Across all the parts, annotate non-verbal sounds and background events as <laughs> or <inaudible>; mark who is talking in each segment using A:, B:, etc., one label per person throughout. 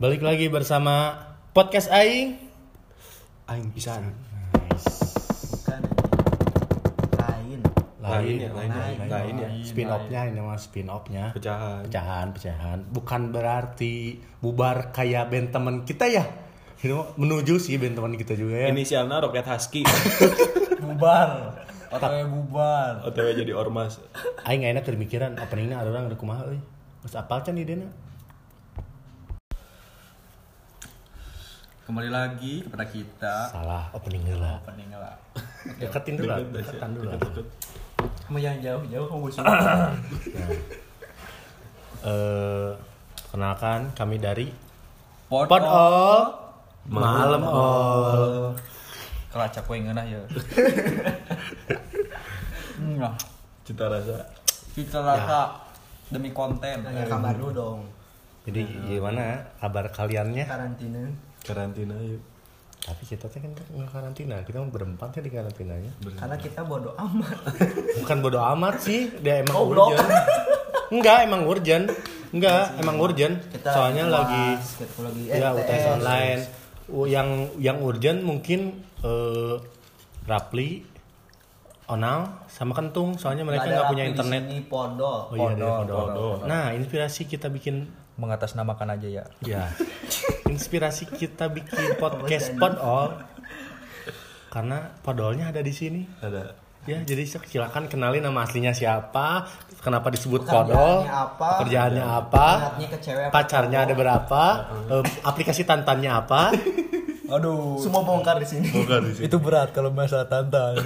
A: Balik lagi bersama podcast Aing.
B: Aing pisan.
C: Kan?
D: bukan lain
B: Lain ya, lain, lain, lain ya.
A: Spin off-nya ini mah spin off-nya.
B: Pecahan.
A: Pecahan, pecahan. Bukan berarti bubar kayak band teman kita ya. Ini mah menuju sih band teman kita juga ya.
B: Inisialnya Rocket Husky. <laughs>
D: bubar otw bubar
B: OTW jadi ormas.
A: Aing gak enak kemikiran openingnya ada orang ada kumaha euy. Mas apal can idena?
D: kembali lagi kepada kita
A: Salah opening heula.
D: opening lah
A: Deketin dulu, lah, deketan dulu. lah.
D: kamu yang jauh jauh kamu busuk
A: Eh kenalkan kami dari
D: pot
A: Pod All Malam All.
D: kelacak kue ngenah <laughs> ya nah
B: Cita rasa.
D: kita
A: Ya.
D: rasa demi konten
A: Iya.
C: Tanya kabar dulu dong
A: Jadi gimana kabar kaliannya?
C: karantina.
B: Karantina yuk.
A: Tapi kita teh kan nggak karantina, kita mau berempat ya di karantinanya.
C: Karena kita bodo amat.
A: Bukan bodo amat sih, dia emang
C: Goblok.
A: urgent. Enggak, emang urgent. Enggak, emang urgent. Soalnya lagi
C: UAS, kita lagi Eh,
A: ya
C: UTS.
A: UTS online. U- Yang yang urgent mungkin eh, Rapli, Onal, sama Kentung. Soalnya mereka
C: Ada
A: nggak
C: aku
A: punya
C: di
A: internet.
C: sini pondok.
A: Oh iya, dia
D: Podol,
A: Podol. Nah, inspirasi kita bikin
D: mengatasnamakan aja ya
C: <laughs>
A: Ya. Inspirasi kita bikin podcast Podol karena Podolnya ada di sini.
B: Ada.
A: Ya, jadi silakan kenalin nama aslinya siapa, kenapa disebut
C: Pekerjaannya
A: Podol,
C: apa,
A: pekerjaannya apa,
C: minatnya ke cewek apa
A: pacarnya ada berapa, em, aplikasi tantannya <laughs> apa.
D: aduh
C: Semua bongkar di sini.
B: Bukan di
D: itu berat kalau masalah tantan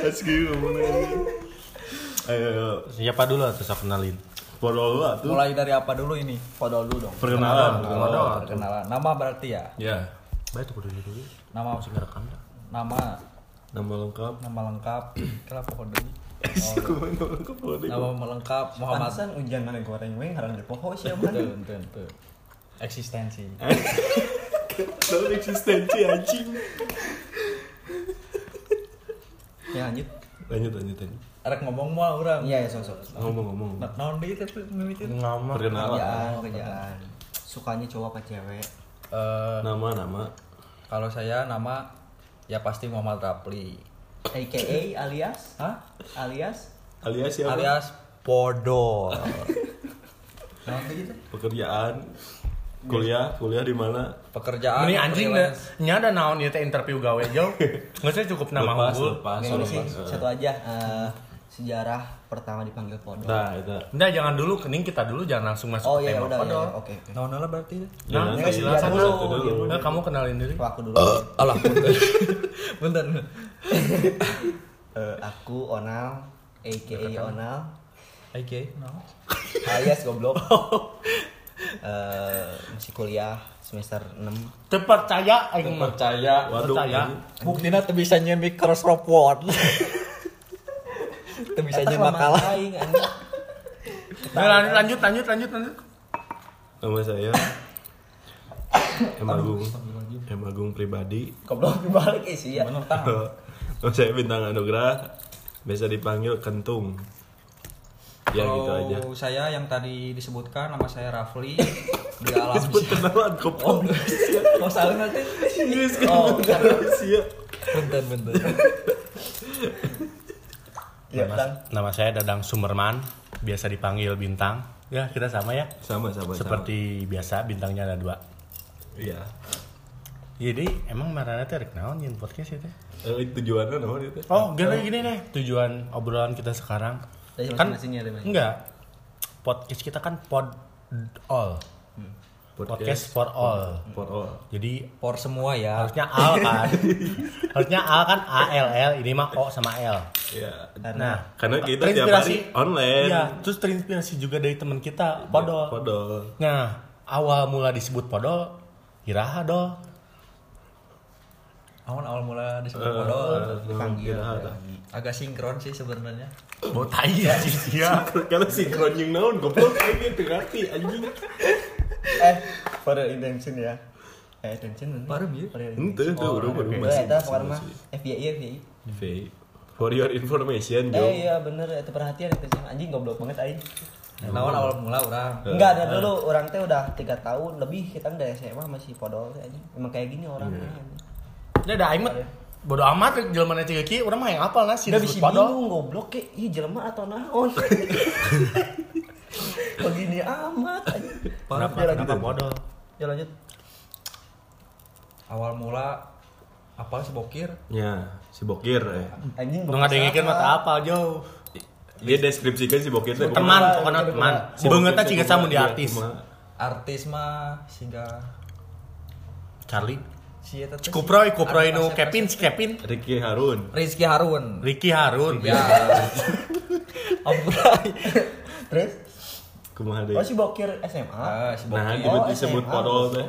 B: Husky ngomongnya. Ayo, ayo.
A: Siapa dulu atau saya kenalin?
B: Podol lah tuh.
D: mulai dari apa dulu ini podol dulu dong
B: Perkenalan. Perkenalan.
D: perkenalan nama berarti ya
B: Ya.
A: Baik tuh dulu dulu.
D: nama
A: Ngerekam dah.
D: nama
B: Nama lengkap.
D: nama
B: <coughs>
D: lengkap kenapa kode ini? Oh,
B: Nama lengkap Podol.
D: nama lengkap Muhammad
C: Pantesan hujan mana goreng weng harang di pohon siapa?
D: Tuh, tuh, tuh.
B: <laughs>
D: eksistensi
B: Nama eksistensi anjing.
C: Ya lanjut.
B: Lanjut, lanjut, lanjut.
D: rek ngomong mah orang
C: Iya ya sosok.
B: Ngomong-ngomong.
D: Nah, naon deui teh mimiti
A: Nama
B: Perkenalan.
C: Kerjaan kerjaan. Sukanya cowok apa cewek?
D: Eh,
B: Nama, nama.
D: kalau saya nama ya pasti Muhammad Rapli
C: AKA alias
D: Hah?
C: alias
B: Alias siapa?
D: alias Podol
C: Kenapa gitu?
B: Pekerjaan. Kuliah, kuliah di mana?
D: pekerjaan
A: Ini anjing dah.
D: freelance.
A: Nya ada naon ieu teh interview gawe <laughs> jauh. Nggak saya cukup nama
B: lepas,
A: unggul.
B: lepas,
C: Gak
B: lepas.
C: sih satu aja eh, sejarah pertama dipanggil podol.
B: Nah, itu.
A: Nggak, jangan dulu, kening kita dulu jangan langsung masuk
C: Oh
A: ke
C: iya
A: tema
C: udah ya,
A: Podol.
C: ya, oke. oke.
D: naon lah berarti teh?
A: Nah,
B: Jangan
A: ya,
B: sih.
A: silakan
B: Satu
A: dulu.
B: dulu.
A: Nah, kamu kenalin diri.
C: Kalau aku dulu.
D: alah bentar bentar
C: Eh, aku Onal, aka Onal,
D: oke no
C: alias goblok. <laughs> Eh, masih kuliah semester 6
A: Terpercaya aing mah.
D: percaya
B: Waduh.
A: Percaya.
B: anjing.
D: buktinya tuh bisa nyemik crossroad word <laughs> tuh bisa
C: Eta
D: nyemak
C: kelamaan
D: kalah
C: aing, Ah, iya, anjing.
A: Nah, lan- lanjut lanjut lanjut lanjut.
B: Nama saya M Agung. M Agung pribadi.
C: goblok dibalik eh, sih ya
D: bener tah
B: Nama saya Bintang Anugrah. Biasa dipanggil Kentung. Ya gitu
A: Oh.
B: aja.
D: Kalau saya yang tadi disebutkan nama saya Rafli di alam
B: Disebut kenalan
A: Oh.
B: kopong.
D: Mau Oh, salah nanti?
B: Yes, kenalan Sia.
D: Bentar bentar.
C: ya
A: Nama, nama saya Dadang Sumerman, biasa dipanggil Bintang. Ya, kita sama ya.
B: Sama sama sama.
A: Seperti biasa bintangnya ada dua.
B: Iya.
A: Jadi emang marana teh rek naon nyin podcast itu?
B: Eh, tujuannya nama itu.
A: Oh, gini gini nih tujuan obrolan kita sekarang.
C: Dari
A: Kan
C: masing-masing ya, dari masing-masing.
A: enggak. Podcast kita kan pod all. Hmm. Podcast for all.
B: for all.
A: Jadi
D: Por semua ya.
A: harusnya al <laughs> kan. harusnya al kan A L L ini mah O sama L.
B: Ya.
A: Nah,
B: Karena kita tiap hari online. Iya.
A: Iya, terus terinspirasi juga dari teman kita, Podol.
B: Podol.
A: Nah, awal mula disebut Podol, Iraha dol.
D: Awan awal mula disebut
B: Eh,
D: modal.
B: dipanggil.
D: Agak sinkron sih sebenarnya.
A: Bau tai ya sih ya.
B: Kalau sinkron yang naon goblok ini terhati anjing.
C: eh for your intention ya eh intention bener.
D: Parem ya?
C: For your
B: Ente
C: intention.
B: tuh udah baru
C: Oh,
B: masih.
C: eta pokoknya mah FBI FBI
B: For your information, Jo.
C: iya, eh iya bener itu perhatian intention anjing goblok banget aing
B: Ya,
D: Naon awal mula orang.
C: Enggak,
B: eh.
C: dari dulu orang teh udah tiga tahun lebih kita dari SMA masih podol teh aja. Emang kayak gini orangnya.
B: Iya.
A: Ini ada aing mah bodo amat jelema na tiga ki urang mah yang apal nah
C: Udah
A: sini
C: bisa
A: padahal.
C: bingung goblok ke, ih jelema atau naon. <laughs> Kok gini amat aja.
A: Kenapa
C: Ya, lanjut.
A: kenapa bodoh?
C: Ya lanjut.
D: Awal mula apal si bokir.
B: Ya, si Bokir. Eh.
C: Anjing
A: Nu ngadengikeun mah teu apal jauh.
B: Dia deskripsikan si Bokir teh.
A: Teman pokokna teman.
B: Si Bokir
A: Beungeutna
B: teh
A: ciga
B: kumaha,
A: samun di
B: iya,
A: artis.
B: kumaha.
D: Artis mah siga
A: Charlie.
D: si eta teh si-
A: Kuproy, Kuproy nu
D: Artis-
A: Kevin, si Kevin.
B: Ricky Harun.
D: Rizky Harun.
A: Ricky Harun.
D: Ya. <laughs> Ampun.
C: Terus?
B: Kumaha
C: Oh
B: deui?
C: si bokir SMA.
D: Ah, si
B: Nah, disebut
C: Oh,
D: bokir.
B: disebut
C: SMA.
B: podol teh.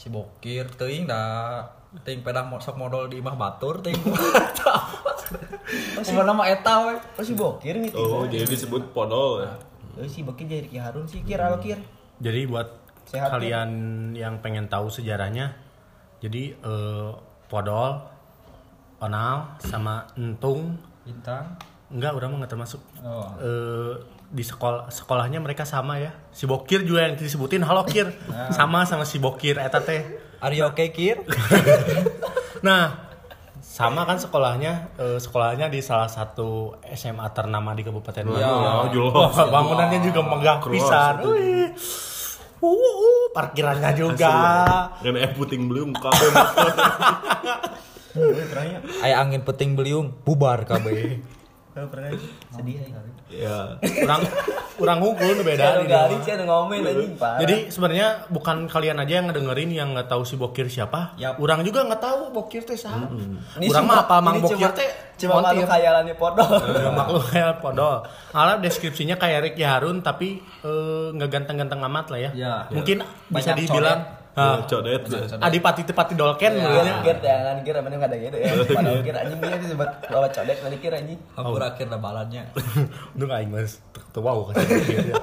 D: Si bokir teuing da teuing pedah mo- sok modal di imah batur
A: <laughs>
D: teuing. Oh, si nama eta we.
C: Oh si bokir nih.
B: Oh,
C: tiga.
B: jadi disebut podol. eh.
C: Oh si bokir jadi Ricky Harun sih kir
A: Hmm.
C: apa kir?
A: Jadi buat
C: Sehat,
A: kalian yang pengen tahu sejarahnya, jadi eh, Podol, Onal, sama Entung,
D: Bintang.
A: enggak udah mah nggak termasuk.
D: Oh.
A: Eh, di sekolah sekolahnya mereka sama ya. Si Bokir juga yang disebutin halo Kir.
B: Ah.
A: sama sama si Bokir eta teh.
D: Are you okay, Kir?
A: Nah, sama kan sekolahnya eh, sekolahnya di salah satu SMA ternama di Kabupaten
B: Wah,
A: Bandung. Wah, <laughs>
B: wah, jelas.
A: bangunannya juga megah
B: Ya Keluar
A: pisan.
B: situ.
A: Wih. Uh, uh, parkirannya juga.
B: Kan eh puting beliung kabeh.
A: Hmm.
C: Gue pernah ya.
D: Aya angin peting beliung bubar
A: <laughs>
D: kabeh.
C: Gue pernah sedih ya.
B: Ya.
A: Orang orang hukum nu beda di
B: Iya,
C: Ada kali
A: dalam.
C: sih ada ngomel anjing parah.
A: Jadi sebenarnya bukan kalian aja yang ngedengerin yang nggak tahu si Bokir siapa.
D: Yap.
A: Orang juga nggak tahu Bokir teh saha.
C: Ini
A: Orang
C: cuma-
A: mah apal Mang
C: ini
A: Bokir
C: cuma-
A: teh
C: Cuma malu
A: montir.
C: khayalannya
A: <laughs>
C: podol.
A: Ya, maklum ya podol. Alat deskripsinya kayak Ricky Harun tapi eh, nggak ganteng-ganteng amat lah ya.
D: Ya.
A: Mungkin bisa
D: Banyak Iya,
A: dibilang ah,
B: Ya, Codet.
A: adipati tepati dolken
D: Ya.
A: meureunnya.
C: Kir jangan kir namanya nggak ada gitu ya. Padahal kir anjing dia disebut bawa codek nanti kir anjing. <laughs>
A: Oh.
D: Hampir akhirnya balannya.
A: <laughs> Untung aing mas wow kasih Bokir. ya.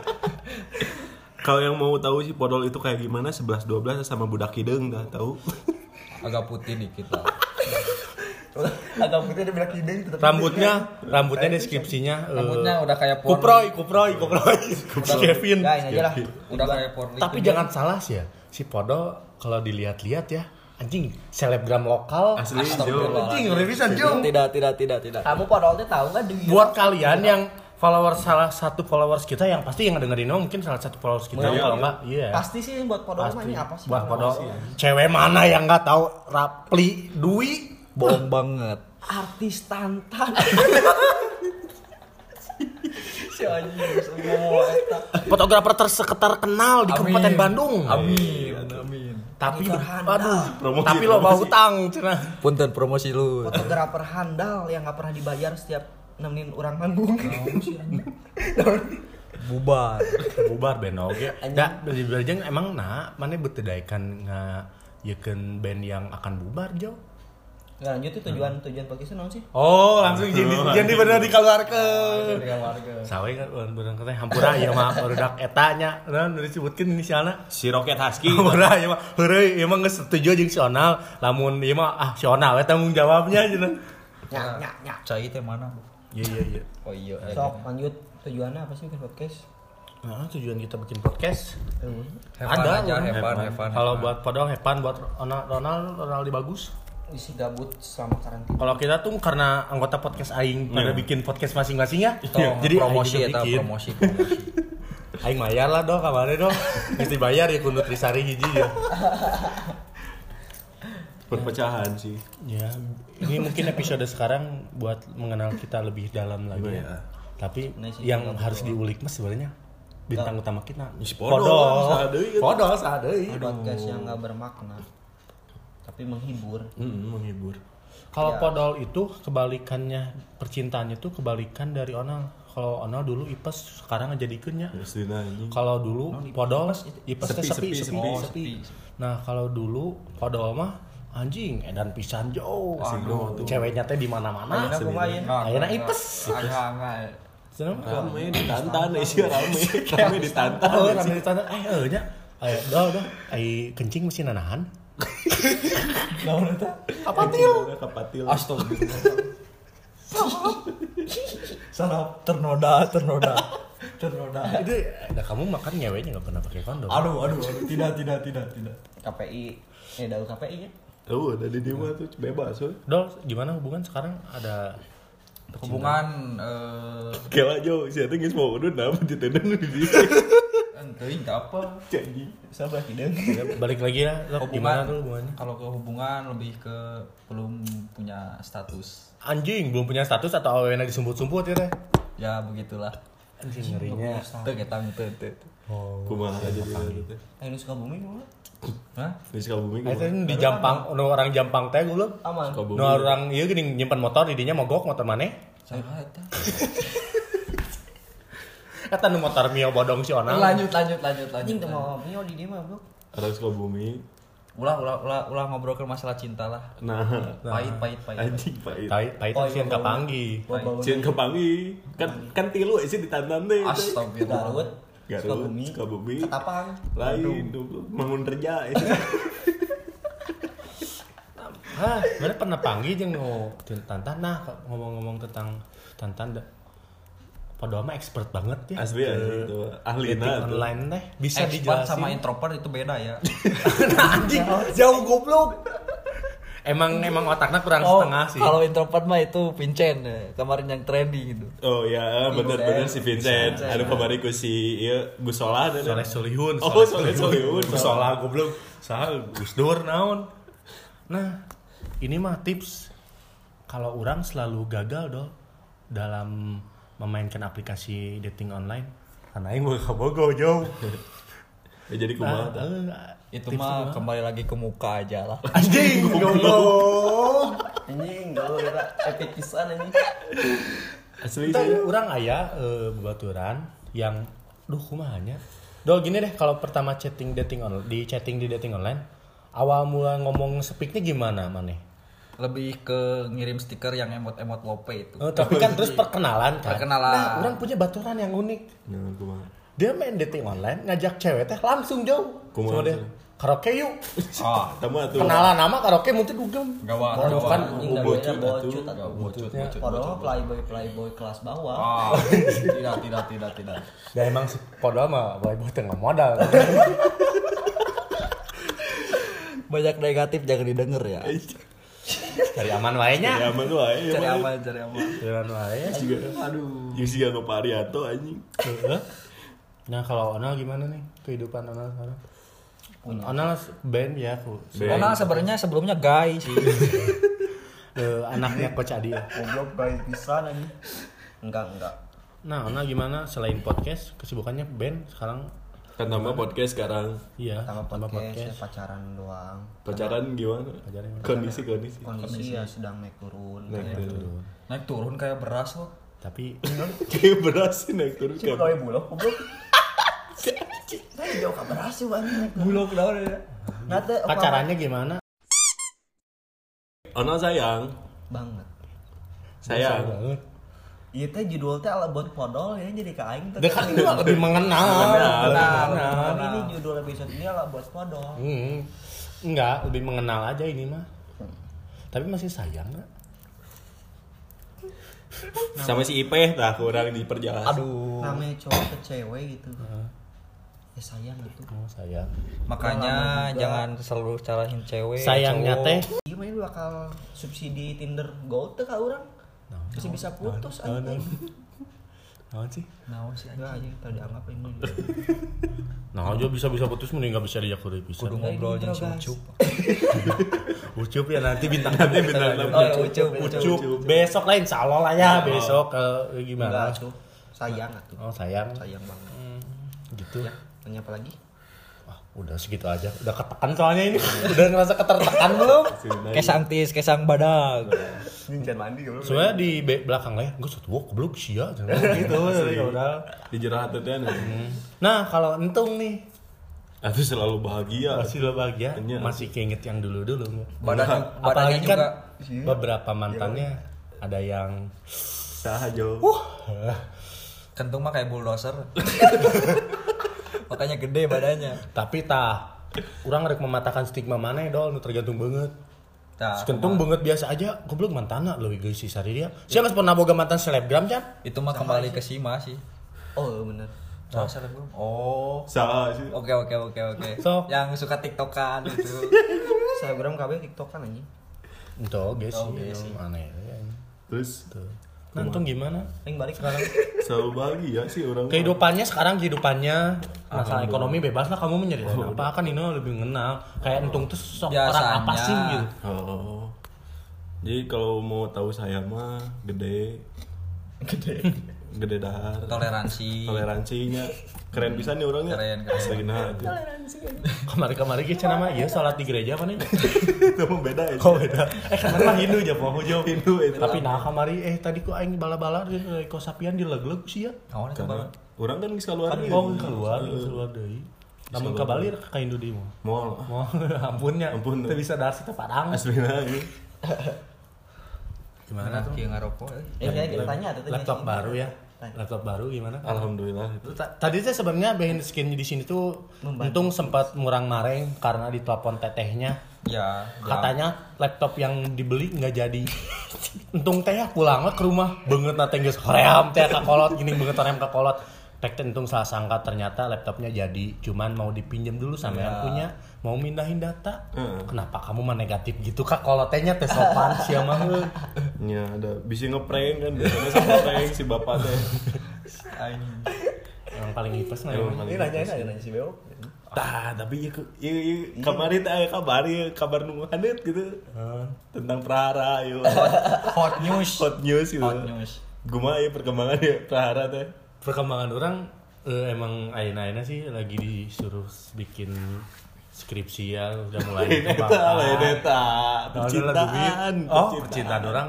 B: Kalau yang mau tahu sih podol itu kayak gimana 11 12 sama budak hidung dah tahu.
D: Agak putih dikit lah.
C: Agak putih dia bilang hidung tetap.
A: Rambutnya, rambutnya deskripsinya eh,
D: Iya. Rambutnya udah kayak porno.
A: Kuproy, kuproy, kuproy. Si <laughs> Kevin.
C: Enggak, Ya,
D: Ya,
C: ini aja lah.
D: Udah kayak porno.
A: Tapi jangan salah sih ya, si Podo kalau dilihat-lihat ya, anjing selebgram lokal.
B: <laughs> Asli Jo.
D: Astagfirullah.
A: Anjing, revisan jong.
D: Tidak, tidak, tidak, tidak.
C: Kamu podolnya tahu nggak dia?
A: Buat kalian yang followers salah satu followers kita yang pasti yang dengerin ini mungkin salah satu followers kita
B: Iya.
A: kalau enggak, iya.
C: Pasti sih buat podol mah ini apa sih?
A: Wah, Podo. Cewek mana yang nggak tahu Rapli Dwi?
D: Bohong banget.
C: Artis tantan. <laughs> Si anjing semua eta.
A: Fotografer terseketar kenal di Kabupaten Bandung.
D: Amin, Iya, amin.
A: Tapi
C: Handal.
A: aduh,
B: Promosi,
A: tapi lo bau
B: promosi.
A: hutang cenah.
D: Punten promosi lu.
C: Fotografer handal yang nggak pernah dibayar setiap nemenin orang manggung.
D: Bubar.
A: bubar band <laughs> oge da dari Barjang emang nah mana betedaikan nga yekeun band yang akan bubar jauh
C: Nggak lanjut itu tujuan tujuan podcast naon sih?
A: oh langsung jadi jadi benar dikeluarkan
C: Dari warga.
A: sawe kan urang bener kata hampura ya mah barudak etanya Nah, naon nu disebutkeun inisialna
B: Si Rocket Husky.
A: hampura ya mah heureuy ieu mah geus setuju jeung si Onal lamun ieu mah ah si Onal we tanggung jawabnya cenah
C: Nyak nyak nyak.
D: Cai teh mana?
A: iya iya iya
D: Oh iya.
C: Sok lanjut tujuannya apa sih bikin podcast?
A: nah tujuan kita bikin podcast
C: Eh,
A: Ada,
D: Ada aja,
A: Bang.
D: hepan, hepan.
A: kalau buat podol hepan buat Onal Ronald Ronaldi bagus
C: isi gabut selama karantina.
A: Kalau kita tuh karena anggota podcast aing pada bikin podcast masing-masing ya.
D: Iya, Jadi promosi
A: Iya. aing juga
D: eta
A: bikin.
D: <laughs> promosi. promosi.
A: Aing bayar lah dong kabarnya dong. Mesti bayar ya kunut Trisari hiji ya.
B: Perpecahan sih.
A: Ya, ini mungkin episode sekarang buat mengenal kita lebih dalam lagi ya.
B: Iya.
A: Tapi
C: Ini sih
A: yang
C: juga
A: harus diulik mas sebenarnya bintang utama kita.
B: Si Podol, sadeui gitu.
A: Podol sadeui.
C: Podcast yang nggak bermakna, tapi menghibur.
A: Hmm,
B: Mm, menghibur.
A: Kalau
C: Ya.
A: Podol itu kebalikannya percintaannya tuh kebalikan dari Onal. Kalau Onal dulu ipes sekarang ngejadikeun nya.
B: Asli anjing.
A: Kalau dulu podol ipes teh Oh, sepi,
B: Sepi,
A: sepi, Oh,
B: sepi,
A: sepi, Nah, kalau dulu podol mah anjing edan pisan jauh. Aduh, ceweknya teh di mana-mana.
C: Ah, Akhirnya aku main.
A: Ayeuna Nah, ipes.
D: Agak enggak.
A: Cenah
B: Rame ditantan eh sih rame. Rame ditantan.
A: <laughs> oh, rame ditanya, eh eh nya. Ayo, dah, dah. Ai kencing mesti nanahan. Apa tuh?
B: Kapatil.
D: Astagfirullah. Sarap ternoda, ternoda. Cenoda.
A: Itu, nah kamu makan nyeweknya nggak pernah pakai kondom.
D: Aduh, aduh, aduh, tidak, tidak, tidak, tidak.
C: KPI eh daun KPI ya
B: Oh, udah di rumah tuh bebas, woy.
A: Dol, gimana hubungan sekarang ada
D: Hubungan eh
B: Kela jo, si Ate geus mau udut nama ditendang di dieu.
D: teuing teu apa?
B: Janji.
C: sabar tidak
A: balik lagi lah, lo gimana tuh hubungannya?
D: Kalau ke hubungan lebih ke belum punya status.
A: Anjing, belum punya status atau awena disumput-sumput ya teh?
D: Ya begitulah.
A: Anjing
C: Iya.
A: ngerinya.
D: Teu kita teu teu. teu.
A: Oh.
B: Kumaha aja di dieu teh.
C: ayo Eh, suka bumi mah
D: Hah?
B: Di Sukabumi
A: Eta
B: kumaha?
A: di Jampang, nu orang Jampang teh gulung.
C: aman
A: Nu
B: Sukabumi.
A: Nah, orang ieu geuning nyimpan motor di dinya mogok motor maneh. <laughs>
D: Saha eta?
A: Eta nu motor Mio bodong si Onal.
D: Eh, Lanjut, lanjut, lanjut,
C: anjing tuh
D: lanjut.
C: mau mio di dia mah bro
B: Orang Sukabumi.
D: Ulah, ulah, ulah, ulah ngobrol ke masalah cinta lah.
B: Nah,
D: Pahit, pahit, pahit.
B: anjing pahit.
A: Tai tai
C: Oh,
A: teh sieun
C: iya, bau.
A: kapanggi.
C: bawa bawa
B: Cien kepangi. Kan kan tilu sih ditantan teh.
D: Astagfirullah.
C: Garut suka
B: Garut,
C: bumi
B: Sukabumi.
C: Ketapang
B: Lain, goblok. bangun kerja. eh.
A: Hah, mana pernah panggil jeung nu tin- Tantan nah ngomong-ngomong tentang Tantan da. Padahal mah expert banget ya.
B: Asli anjing tuh.
A: Dating
B: Ahlina nah, tuh.
A: online teh bisa
D: Expat
A: dijelasin. <laughs>
D: sama introvert itu beda ya.
A: Nah, anjing jauh goblok. Emang emang otaknya kurang setengah sih.
D: Oh, kalau introvert mah itu Vincent ya, kemarin yang trending itu.
B: Oh ya, bener-bener si Vincent. Ada kemarin ku si iya Gusola dan
A: Soleh Solihun.
B: Oh, Soleh Solihun.
A: Salah goblok. Salah Gus Dur naon. Nah, ini mah tips kalau orang selalu gagal dong dalam memainkan aplikasi dating online. Karena aing mah kabogo jauh. Nah, eh,
B: Ya, jadi
A: Ah,
B: kumaha tah?
D: Itu mah kembali lagi ke muka aja lah.
A: anjing goblok.
C: anjing galau kita epic pisan anjing
B: Asli
A: Itu
B: sih.
A: orang ayah eh, bebaturan yang duh kumahanya. Do gini deh kalau pertama chatting dating online di chatting di dating online awal mula ngomong speaknya gimana maneh?
D: Lebih ke ngirim stiker yang emot-emot lope itu.
A: Eh, tapi kan
C: Iya.
A: terus perkenalan kan.
D: Perkenalan.
A: Nah, orang punya baturan yang unik.
B: Nah, kumaha?
A: Dia main dating online, ngajak cewek teh langsung jauh.
B: Kumaha
A: Sama dia,
B: tuh?
A: karaoke yuk.
D: Ah,
B: Tamu atuh.
A: Kenalan nama karaoke mungkin dugem.
D: Gawat,
A: Bodoh
D: gawat.
A: kan.
C: anjing
B: mau
C: namanya
B: bocut
C: bocut
B: atuh.
C: atuh.
D: Bocut, bocut,
C: padahal
D: bocut.
C: playboy playboy kelas bawah
D: Ah, <laughs> tidak, tidak, tidak, tidak.
A: Ya emang si Podo mah boy boy tengah <laughs> modal.
D: Banyak negatif jangan didengar ya.
A: Cari aman wae nya.
B: Ya aman lu aja.
D: Cari aman, cari aman.
A: Cari aman wae.
B: Aduh. Yang sih gak Arianto anjing.
A: Heeh. Nah kalau Onal gimana nih kehidupan Onal sekarang? Onal band ya aku.
C: Oh, nah,
D: Karena sebenarnya sebelumnya guys sih.
A: Eh, anaknya Coach Adi ya.
C: goblok guys pisan anjing enggak enggak
A: Nah Onal gimana selain podcast kesibukannya band sekarang?
B: Kan nama podcast sekarang.
A: Iya.
C: sama podcast ya, pacaran doang
B: Pacaran gimana?
A: Pacaran gimana?
B: Kondisi kondisi.
C: kondisi ya sedang naik turun
B: Naik <laughs> turun.
D: Naik turun kayak beras loh.
A: Tapi
B: Kayak beras sih naik turun
C: sih
B: kan.
C: kalau bulog <laughs> goblok saya jauh kabar sih bang naik turun.
D: Bulog daun ya.
C: nah teh apa-
A: pacarannya gimana?
B: Onal sayang,
C: banget
B: sayang.
C: Iya teh judul teh ala buat podol ya jadi ke aing teh.
A: Dekat itu kan lebih mengenal.
D: Nah,
C: Tapi
D: nah,
C: ini judul episode ini ala buat podol.
A: Hmm, enggak, lebih mengenal aja ini mah. Tapi masih sayang nggak?
B: Sama si Ipeh tah kurang diperjelas.
D: Aduh.
C: Namanya cowok ke cewek gitu. Ya sayang gitu.
A: Oh, sayang.
D: Makanya jangan selalu carahin cewek.
A: Sayangnya
D: Eh, cowok.
A: teh.
C: Gimana ini bakal subsidi Tinder Gold teh ka urang? Masih bisa putus anjing.
A: Naon sih?
D: Nah, sih
C: Enggak anjing tadi dianggap ini.
A: Nah, aja bisa-bisa putus mending nggak bisa diajak kudu bisa.
D: Kudu ngobrol jeung si
C: Guys.
D: Ucup.
A: Ucup ya nanti bintang nanti
B: bintang tamu.
D: Oh, ya, Ucup, Ucup.
A: Ucup. Besok lain insyaallah lah ya, besok eh, gimana?
C: Enggak tuh. Sayang atuh.
A: Oh, sayang.
C: Sayang Ya. banget.
A: Gitu.
C: Tanya apa lagi?
A: Wah, udah segitu aja. Udah ketekan soalnya ini. Udah ngerasa ketertekan belum?
D: Kesang tis, kesang badag.
C: Jinjan mandi goblok.
A: Soalnya di be- belakang lah ya, gue satu wok belum sia gitu. ya udah.
B: Dijerah hati teh.
A: Nah kalau entung nih
B: kan. Aku selalu bahagia.
A: masih lo bahagia,
B: Nah. Iya.
A: masih keinget yang dulu dulu.
D: Badannya, badannya
A: Apalagi kan
D: juga Iya.
A: beberapa mantannya ada yang
B: Sah Jo.
D: <laughs> kentung mah kayak bulldozer. <laughs> Makanya gede badannya.
A: tapi tah orang rek mematahkan stigma mana ya dol nu tergantung banget
D: Nah,
A: Kentung banget biasa aja, goblok mantana lo guys si sari dia. Siapa pernah boga mantan selebgram kan?
D: itu mah kembali ke Sima sih.
C: oh bener
D: Oh, selebgram. Oh.
B: Salah sih.
D: Oke oke oke oke.
A: Sok.
D: Yang suka tiktokan itu. <laughs>
C: selebgram KB tiktok kan anjing
A: Itu oke sih,
D: Oke
A: itu
D: sih.
A: aneh ya.
B: Terus
A: Tuh. Nah, Antum gimana?
C: Aing balik sekarang
B: selalu bahagia sih orang.
A: Kehidupannya sekarang kehidupannya masalah ekonomi bebas lah kamu menyeritain apa kan Nino lebih mengenal kayak entung tuh sok orang apa
D: Biasanya.
A: sih gitu.
B: Oh. Jadi kalau mau tahu saya mah gede
C: gede
B: gede dahar.
D: Toleransi.
B: Toleransinya keren bisa nih orangnya.
D: Keren, keren.
B: Segena itu.
A: Kemarin-kemarin gitu nama iya sholat di gereja apa nih? <laughs>
B: itu mah beda ya.
A: Kau beda. Eh kemarin mah Hindu aja mau hujung.
B: Hindu itu.
A: Tapi nah kamari eh tadi kok aing bala-bala di kau sapian dileg-leg sih ya.
D: Oh, itu
B: Karena
D: banget.
B: orang kan bisa keluar
A: Kan kau keluar, keluar deui. Namun kabalir ka Hindu deui mah.
B: Mall.
A: Mau <laughs> ampunnya.
B: Ampun.
A: Teu bisa dar situ padang.
B: Aslinya gitu.
D: Gimana tuh? Kieu ngarokok. eh.
C: eh saya kita tanya tuh tanya
A: Laptop
C: sih.
A: baru ya.
C: Tanya.
A: Laptop baru gimana?
B: Alhamdulillah itu.
A: Ta- Tadi saya sebenarnya behind the skin di sini tuh
C: Membantu.
A: untung sempat murang mareng karena ditelepon tetehnya.
D: Ya, ya.
A: Iya. Katanya laptop yang dibeli nggak jadi. <laughs> untung teh ya pulang lah ke rumah banget nate geus hoream teh kakolot gini banget hoream kakolot. Tek teh untung salah sangka ternyata laptopnya jadi, cuman mau dipinjam dulu sama yang punya, mau mindahin data.
B: Heeh.
A: Kenapa kamu mah negatif gitu kak? Kalau tehnya teh sopan <laughs> sia mah.
B: Ya ada bisa ngeprank kan biasanya sama prank si bapak teh.
D: Aing.
A: Yang paling hipes nah.
B: Emang
A: emang.
B: paling
C: ini nanya aja nanya si Beo
B: Tah, tapi ya, ya, ya kemarin teh kabar ya kabar nunggu hanet gitu. Tentang Prahara yuk.
D: Hot news.
B: <laughs> Hot news gitu.
D: Hot news.
B: Guma ya perkembangan ya Prahara teh.
A: perkembangan orang eh, emang aina-aina sih lagi disuruh bikin skripsi ya udah
B: <laughs>
A: mulai
B: Neta
A: kebakar.
B: lah neta.
A: Kalau ada lagu
B: Percintaan.
A: ini, oh percintaan orang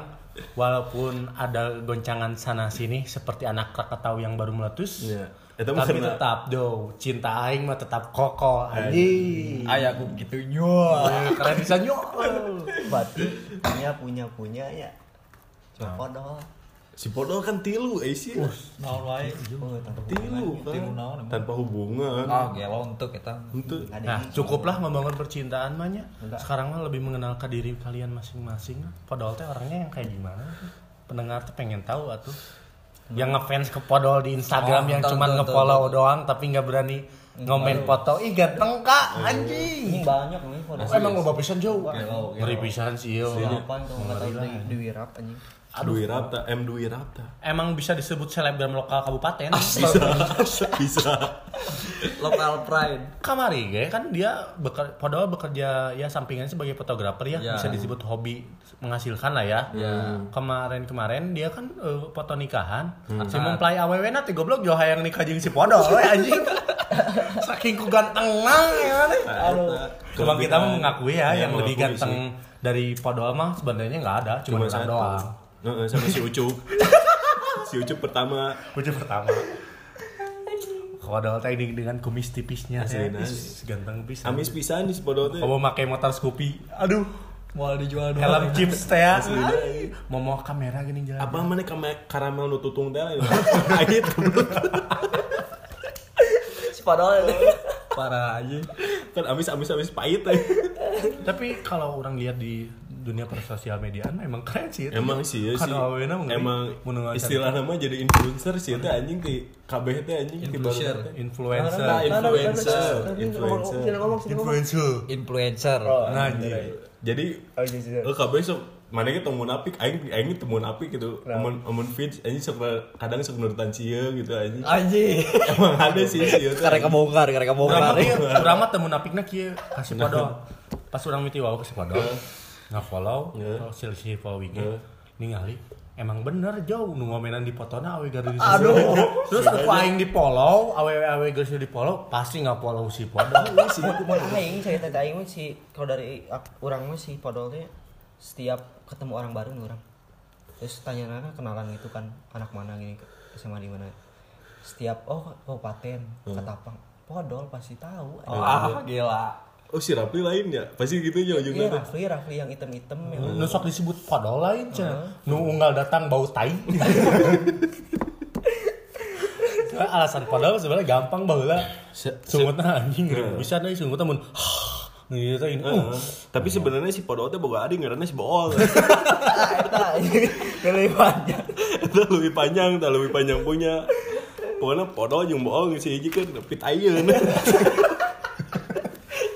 A: walaupun ada goncangan sana sini seperti anak Krakatau yang baru meletus
B: Iya. Itu mah
A: Eh, tapi
B: karena-
A: tetap do cinta aing mah tetap kokoh anjing
D: Aya aku gitu nyua.
A: keren bisa nyo
C: berarti punya punya punya ya
A: Nah.
C: cuma podol
B: Si Podol kan tilu eh sih.
D: Naon wae.
C: Oh, tanpa hubungan.
B: Tilu
D: Tilu
B: kan.
D: naon emang?
B: Tanpa hubungan.
D: Ah, gelo untuk kita.
B: Untuk
C: Ada
A: nah
C: ini.
A: cukuplah membangun percintaan mahnya
C: Enggak.
A: sekarang mah lebih mengenal ke diri kalian masing-masing podol teh orangnya yang kayak gimana pendengar tuh pengen tahu atuh yang ngefans ke podol di Instagram
D: Hmm. Oh,
A: yang
D: betul,
A: cuman
D: betul,
A: ngefollow
D: betul,
A: doang tapi nggak berani ngomen foto ih ganteng kak
D: Oh.
C: ini
A: anjing
C: banyak nih podol
A: Oh, emang loba pisan jauh
D: Gelo, gelo.
A: ngeri pisan sih yo
C: delapan tuh nggak tahu di di wirap anjing
B: Dwi Rapta, M Dwi Rapta.
A: emang bisa disebut selebgram lokal kabupaten
B: Bisa, <laughs> bisa.
D: Lokal pride.
A: kamari ge kan dia beker, padahal bekerja ya sampingan sebagai fotografer ya
D: Ya.
A: bisa disebut hobi menghasilkan lah ya
D: Iya. Hmm.
A: kemarin-kemarin dia kan eh, foto nikahan
B: Hmm.
A: si mempelai aww nanti goblok jo hayang nikah jeung si <laughs> podol we anjing saking ku ganteng ya kan
B: Aduh.
A: cuma kita mau mengakui ya
B: Iya,
A: yang lebih
B: mengakui
A: ganteng dari podol mah sebenarnya nggak ada cuma,
B: Cuma
A: orang
B: satu.
A: doang
B: Heeh, sama si Ucup. si Ucup pertama.
A: Ucu pertama Kodol teknik dengan kumis tipisnya ya.
B: Asli,
A: Ih, ganteng pisan.
B: Amis pisan nih si Podol teh.
A: Kamu pakai motor Scoopy.
B: <laughs>
A: Aduh,
D: Mau dijual dua.
A: helm chips teh ya. Ay, Mau mau kamera gini jalan.
B: Abang mana kame- karamel nu tutung teh? ya? <laughs> Akhir
C: si ya. podol itu
D: Parah aja.
B: kan amis amis amis pahit eh. teh.
A: Tapi kalau orang lihat di dunia persosial mediaan emang keren sih. itu.
B: Emang sih ya sih.
A: Kan awalnya mah ngeri.
B: Emang
A: Mendengarkan.
B: istilah nama jadi influencer sih teh anjing ti kabeh teh anjing ti Podol
D: Influencer.
B: teh.
A: influencer.
B: Nah, influencer, influencer. Oh,
C: jangan ngomong jangan ngomong
A: influencer.
D: Influencer.
A: Nah, anjing.
B: Jadi
C: oh iya sih
B: Eh kabeh sok mana kita temu apik, aing aing temu apik gitu. Amun amun feeds anjing sok kadang sok nurutan sia gitu anjing.
C: <laughs>
D: Anjing. Nah,
B: Emang ada sih
C: Gitu.
B: sia teh.
D: Karek kebongkar, karek
A: Urang
D: kebongkar.
A: mah kieu, urang mah teu munafikna kieu, kasih podol. Pas urang miti wae kasih podol. Nge-follow,
B: Heeh.
A: kalau si si follow IG,
B: Heeh.
A: ningali emang bener jauh nu ngomenan di fotona awe garis di Aduh, terus aku aing di follow, awe awe garis di follow, pasti nggak follow si podol.
C: sih aing saya tanya aing mah si kalau dari ak- orang mah si podolnya setiap ketemu orang baru nih orang terus tanya nana kenalan gitu kan anak mana gini SMA di mana setiap oh kabupaten katapang podol pasti tahu
D: Oh, ah, gila.
B: Oh si Rapli lain ya? Pasti gitu ya
C: iya
B: ujungnya teh.
C: Rafli Rafli yang item-item yang
A: Nu sok disebut podol lain cenah. Nu unggal datang bau <laughs> tai. Sebenarnya alasan podol sebenarnya gampang baheula.
B: Se-
A: Sungutna anjing ribut pisan euy sungutna mun. Nu ieu teh ini.
B: Heeh.
A: uh,
B: Tapi sebenarnya si Podol teh boga ari ngaranna si Bool. <laughs>
C: <laughs> ah itu lebih banyak
B: Itu lebih panjang, tak lebih panjang punya. pokoknya podol jeung bohong si hiji kan pit
A: <laughs>
B: ayeun.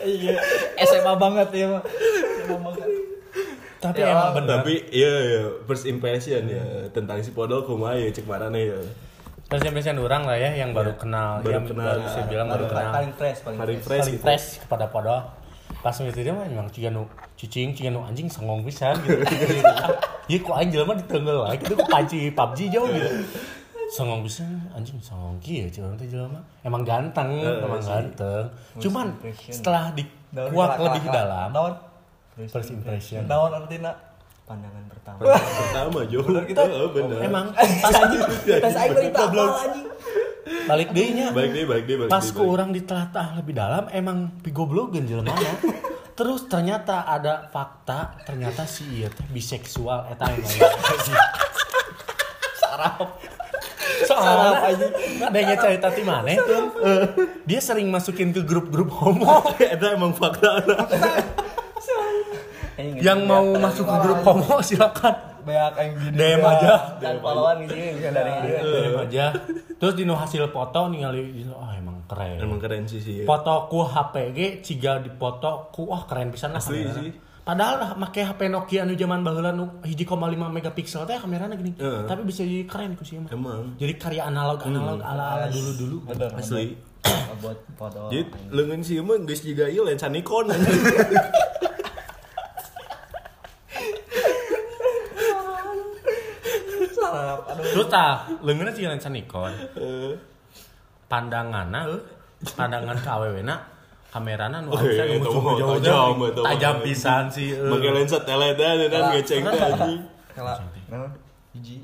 D: Iya, SMA banget ya, Pak. SMA banget.
A: Tapi
D: Ya,
A: emang bener.
B: Tapi iya iya first impression ya tentang si podol kumaha ya cek marana ya.
A: Terus impression orang lah ya yang baru kenal, yang
B: baru kenal.
A: baru saya bilang baru kenal.
C: paling fresh paling
B: Hari
C: fresh.
B: fresh
A: Paling
B: gitu.
A: fresh kepada podol. Pas ngeliat dia mah emang ciga nu cicing, ciga nu anjing songong pisan
B: <laughs>
A: gitu. Iya kok anjing jelema ditenggel lah, gitu kok panci PUBG jauh gitu. Songong pisan anjing songong kieu ceu urang teh jelema. Emang ganteng, emang ganteng. Cuman
C: impression.
A: setelah dikuak lebih dalam,
D: Daun,
A: first impression.
D: daun artinya.
C: pandangan pertama
B: Pertama Jo. Heeh, bener.
A: Emang
C: tas anjing
A: <laughs>
C: tas aing balik tak apal anjing
A: balik deunya.
B: Balik deh, balik deh, balik
A: pas
B: deh,
A: ke
B: balik.
A: orang ditelatah lebih dalam emang pigoblogen
B: <laughs>
A: jelemana terus ternyata ada fakta ternyata si iya teh biseksual eta emang sarap sarap aja adanya cerita ti maneh tuh eh, dia sering masukin ke grup-grup homo
B: Oh, Eta emang fakta.
C: Anjing,
A: yang
C: gitu,
A: mau
C: kelihatan.
A: masuk ke grup homo silakan
D: Banyak yang gini.
A: DM aja Iya.
C: dan pahlawan gitu bisa dari
B: Eh.
A: DM aja terus dino hasil foto ningali oh emang keren
B: Emang keren sih sih. ya.
A: foto ku HPG ciga dipoto ku wah keren pisan lah
B: Asli
A: kamerana.
B: sih.
A: Padahal lah make HP Nokia anu zaman baheula nu 1,5 megapiksel teh kamerana gini.
B: Heeh.
A: Tapi bisa jadi keren ku sih mah.
B: Emang
A: Jadi karya analog-analog ala-ala dulu-dulu.
B: asli.
C: buat foto
B: Jadi lengan sih mah geus jiga ieu
A: <laughs>
B: lensa Nikon.
A: Terus ah, tah leungeunna sih lensa Nikon. Pandanganna eh, pandangan ka awewena kamerana nu
B: Oke,
A: bisa
B: eta
A: ngumucu
B: mah
A: jauh
B: tajam, eta mah.
A: tajam pisan sih. eh.
B: Make lensa tele dah dan dan
A: <laughs>
B: ngecek teh anjing.
D: Kalau, hiji.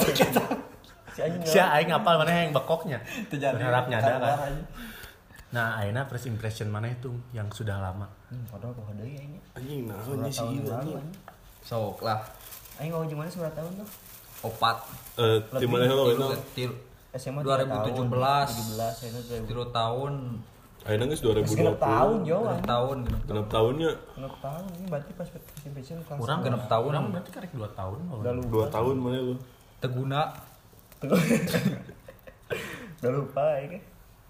C: si anjing
A: Si aing apal mana yang bekoknya.
D: Itu jadi.
A: Berharap nyada kan.
D: Kabar aja.
A: Nah, ayeuna first impression mana itu yang sudah lama.
C: foto apa foto ya ini
B: Anjing naon sih ieu anjing.
D: Sok lah,
C: aing ngomong gimana seberapa tahun tuh
D: opat.
B: Eh, di mana lo
D: Tiru-
B: enak?
D: tiru-
C: SMA
D: 2017.
C: 17 aing tuh
D: Tiru tahun,
B: Ayeuna geus
C: Masih
B: 2020.
C: genep tahun jo
D: genep
C: anjing.
D: tahun, genep tahun.
B: Genep tahunnya
C: genep tahun ini berarti pas first impression kelas
A: Kurang
C: dua.
A: genep tahun. Kurang berarti karek 2 tahun.
C: udah lupa
B: 2 tahun mana lu?
D: Teguna,
C: udah lupa ya kan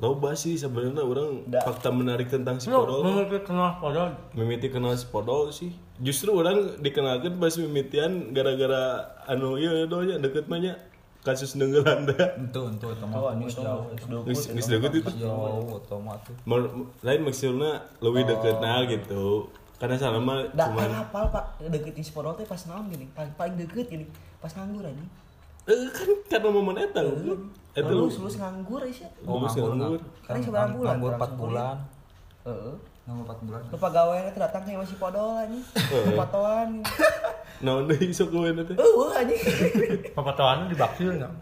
B: Loba sih sebenarnya orang
C: Da.
B: fakta menarik tentang si
A: Lu
B: Podol.
A: menurut kenal Podol
B: Mimiti kenal si Podol sih. Justru orang dikenalkan pas mimitian gara-gara anu ieu doanya deket mah nya kasus Nenggelanda.
D: itu, itu, itu mah
C: Oh, anjing
D: geus
C: itu
D: jauh.
B: Geus
A: ya,
B: geus
C: udah
B: deket itu.
D: Geus Jauh, itu mah tuh.
B: Mer- Lain maksudnya lebih deket nah gitu. Karena selama
C: Dah,
B: cuman
C: aing hafal pak deketin si Podol teh pas naon gini paling paling deket gini pas nganggur anjing
B: eh kan karena momen eta. Eta lu
C: lulus lulus nganggur ya
B: Oh,
D: Oh,
B: bagus
D: nganggur,
B: nganggur.
D: nganggur.
C: Kan seberapa
D: Ngang-
C: bulan?
D: Nganggur
C: Kurang
D: 4
C: sebulan.
D: bulan.
C: Heeh.
D: Nganggur 4 bulan.
C: Lupa gawean itu datang kayak masih podol anjing.
B: Eh.
C: Patoan.
B: naon deui sok gue nanti.
C: Eueuh anjing.
A: papatoan di Bakil enggak?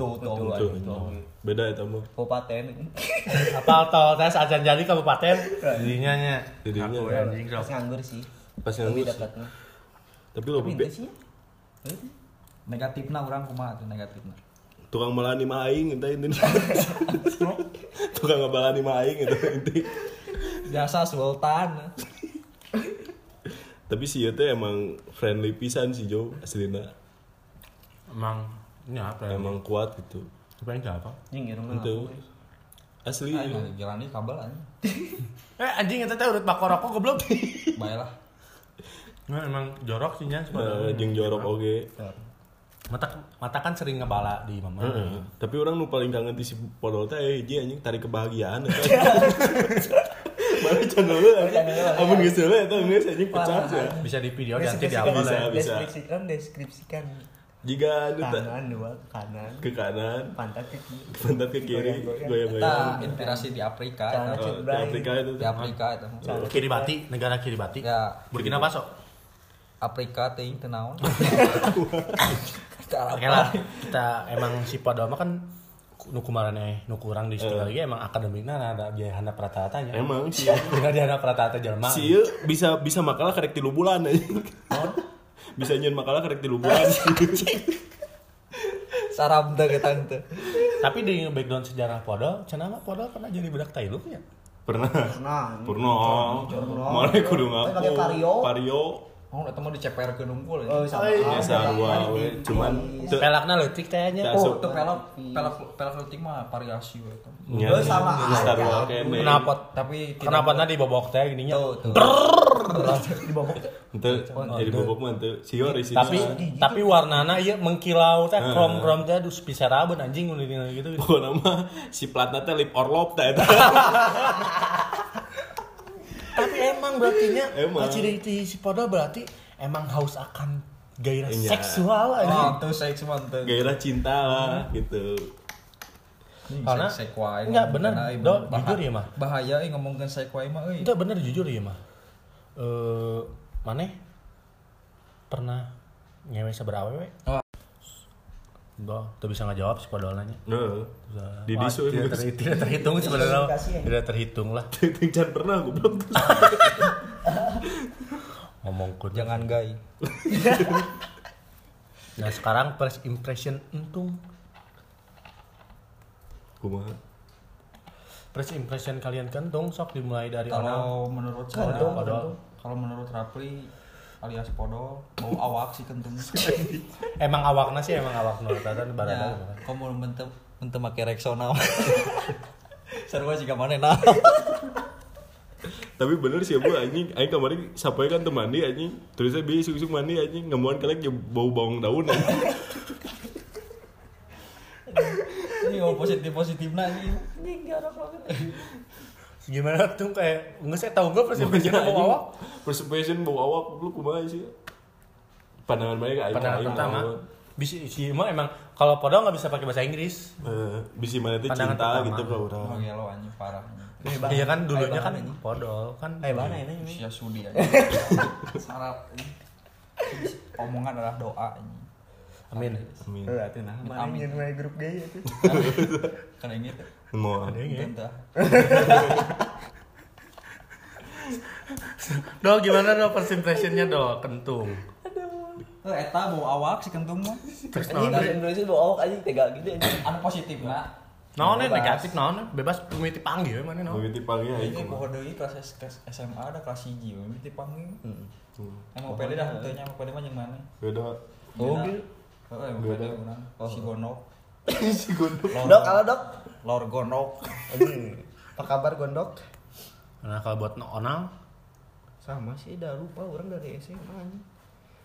D: Tuh, tuh,
B: Tuh, beda eta mah.
C: Kabupaten.
A: Apal tol tes ajan jadi kabupaten. Jadinya nya.
B: Jadinya.
A: Aku anjing
C: Pas
A: sok.
C: nganggur sih.
B: Pas
C: Lebih
B: nganggur. sih.
C: dekatnya.
B: Tapi lo
C: Pindah sih. ya? Heuh.
D: Negatifna urang kumaha tuh negatifna?
B: tukang melani mah aing eta intinya tukang ngebalani mah aing eta inti
D: Biasa Sultan.
B: tapi si ieu teh emang friendly pisan si Jo aslina
A: Emang ini apa ya?
B: emang kuat gitu
A: Tapi enggak apa.
C: Anjing irungna
B: itu
C: ngapain?
B: asli
D: Ayo jalan di kabel aja.
A: Eh anjing eta teh urut bako rokok goblok.
D: Baiklah.
A: Nah, emang jorok sih nya si Podol.
B: Eh, jeung jorok oge
A: Mata mata kan sering ngebala di mama.
B: Heeh. tapi orang nu paling kangen ti si Podol teh eh, hiji anjing tarik kebahagiaan
D: <laughs>
B: eta
D: Iya.
B: Baru channel lu anjing. Amun geus heula eta geus anjing pecah sih.
A: Bisa di video nanti di
C: Deskripsikan,
A: upload.
B: Bisa,
A: ya.
B: bisa.
C: deskripsikan, kan deskripsikan
B: Jika anu teh,
C: kanan dua kanan
B: ke kanan,
C: pantat ke kiri
B: pantat ke kiri,
C: Goyang-goyang.
B: goyang-goyang.
D: Kita inspirasi di Afrika.
C: Jangan.
D: eta.
B: Oh, Di Afrika itu
D: Di
B: teh.
D: Afrika itu.
A: Kiribati, negara Kiribati.
B: Iya.
D: Ya,
A: Burkina Faso.
D: Afrika teuing teu naon. <laughs> Teu
A: Oke lah, kita emang si Podol mah kan nu kumaraneh nu kurang di situ lagi emang akademikna ada biaya handap rata-ratanya.
B: Eh. Emang sih.
A: Dina di handap rata-rata jelema.
B: Si ieu bisa bisa makalah karek tilu bulan anjing. <laughs> bisa nyen makalah karek tilu
C: <laughs>
B: bulan.
D: Sarap teu kita teu.
A: Tapi di background sejarah Podol, cenah mah Podol pernah jadi budak Thailand ya?
B: Pernah.
C: pernah
B: Purno. Mana kudu ngaku.
C: Pakai pario.
B: Pario.
D: Oh, eta mah di CPR ke nungkul ya.
C: Oh, sama.
A: Iya,
B: Ya, sarua we. Cuman teu
A: Pelakna leutik tehnya.
B: Tak
D: Oh,
B: asup.
D: itu pelak pelak pelak letik mah variasi we eta.
B: nya
C: Oh, sama
B: geus
C: aja.
B: sarua kene.
A: Oh, Kenapa?
D: Tapi tidak-
A: Kenapa tadi bobok teh gininya?
D: Tuh, tuh.
B: Henteu jadi bobok mah henteu sior isi.
A: tapi tapi
D: gitu.
A: warnana iya mengkilau teh
B: Eh.
A: krom krom teh aduh bisa rabun anjing udah gitu
B: pokona mah si platna teh lip orlop
C: <laughs>
B: teh eta.
A: tapi emang berarti nya
B: Emang.
A: ciri ciri si podol berarti emang haus akan gairah
B: Iya.
A: seksual aja
D: Ah, tuh seks mantep.
B: Gairah cinta lah gitu.
D: Hmm,
A: Karena-
D: sek wae.
A: Enggak, bener.
D: Karena, eh,
A: Do,
D: bah-
A: jujur ya, mah.
D: Bahaya eh ngomongkeun sek wae mah euy.
A: itu bener jujur ya mah eh mana pernah ngewe seberawewe
D: Oh.
A: Enggak, tuh bisa ngejawab si podol nanya
B: Nah, di disu
A: Wah, tidak, ter- tidak terhitung sebenarnya tidak terhitung lah
B: Ting Chan pernah gue belum
C: <laughs>
A: ngomong ku
D: Jangan gay.
A: nah sekarang first impression untung
B: Kumaha?
A: first impression kalian kentung sok dimulai dari orang
D: Kalau menurut saya,
A: Kentung, podol.
D: kalau menurut Rapli alias podol bau awak sih kentung.
A: <laughs> emang awakna sih emang awakna tatan barada
D: Ya, kamu mentem mentem make
A: <laughs>
D: Rexona. Sarua jika mana nah.
B: Tapi bener sih bu anjing, anjing kemarin sampai kan teman mandi anjing, tulisnya bi suk suk mandi anjing, ngemuan kalian ya bau bawang daun anjing. <laughs>
D: Ini ngomong positif positifnya ini.
A: gimana tuh kayak nggak saya tahu nggak first impression mau
B: Anjing,
A: awak
B: First impression bau awak, lu kumaha sih? Pandangan mereka ke aing,
A: pandangan
B: aing
A: pertama
B: awak.
A: bisa si emang emang kalau podol nggak bisa pakai bahasa Inggris
B: Eh, bisi mana teh
A: Pandangan
B: cinta
A: pertama.
B: gitu ke orang.
D: Emang gelo anjing parah.
A: iya kan dulunya kan
C: ini.
A: podol kan
C: Eh, mana ini?
D: Usia sudi
A: <laughs>
D: aja. Sarap. Omongan adalah doa
A: <laughs>
D: anjing.
A: amin
B: Amin.
A: Iya.
C: Eh, atuh nah, mana
D: Amin.
C: nyeun wae grup gay atuh.
D: Karena gitu.
B: Mau. ah.
D: Entah.
A: dol gimana dol first impressionnya dol kentung
D: Eh eta bau awak si kentung mah.
A: terus naon
C: Anjing bahasa Indonesia bawa awak anjing tega gitu anjing.
D: Anu positif na.
A: naon eh, negatif Iya, naon eh? bebas pemiti panggil eh, mana naon
B: Mimiti panggil aing.
D: Ini
B: kumaha.
D: boho deui kelas S- kelas SMA ada kelas 1 we miti panggil.
B: Hmm.
D: Emang pede dah teu nya pede mah jeung mana.
A: <laughs>
B: Beda.
C: Oh,
D: Gila.
C: gitu.
D: Heeh, emang
B: Beda.
D: pede urang. Si Gonok.
B: Si gondok.
D: Lor-
C: Dok, halo, Dok.
D: Lor Gonok.
C: Anjing. Apa kabar gondok?
A: nah kalau buat no- onal
C: Sama sih, udah lupa orang dari SMA anjing.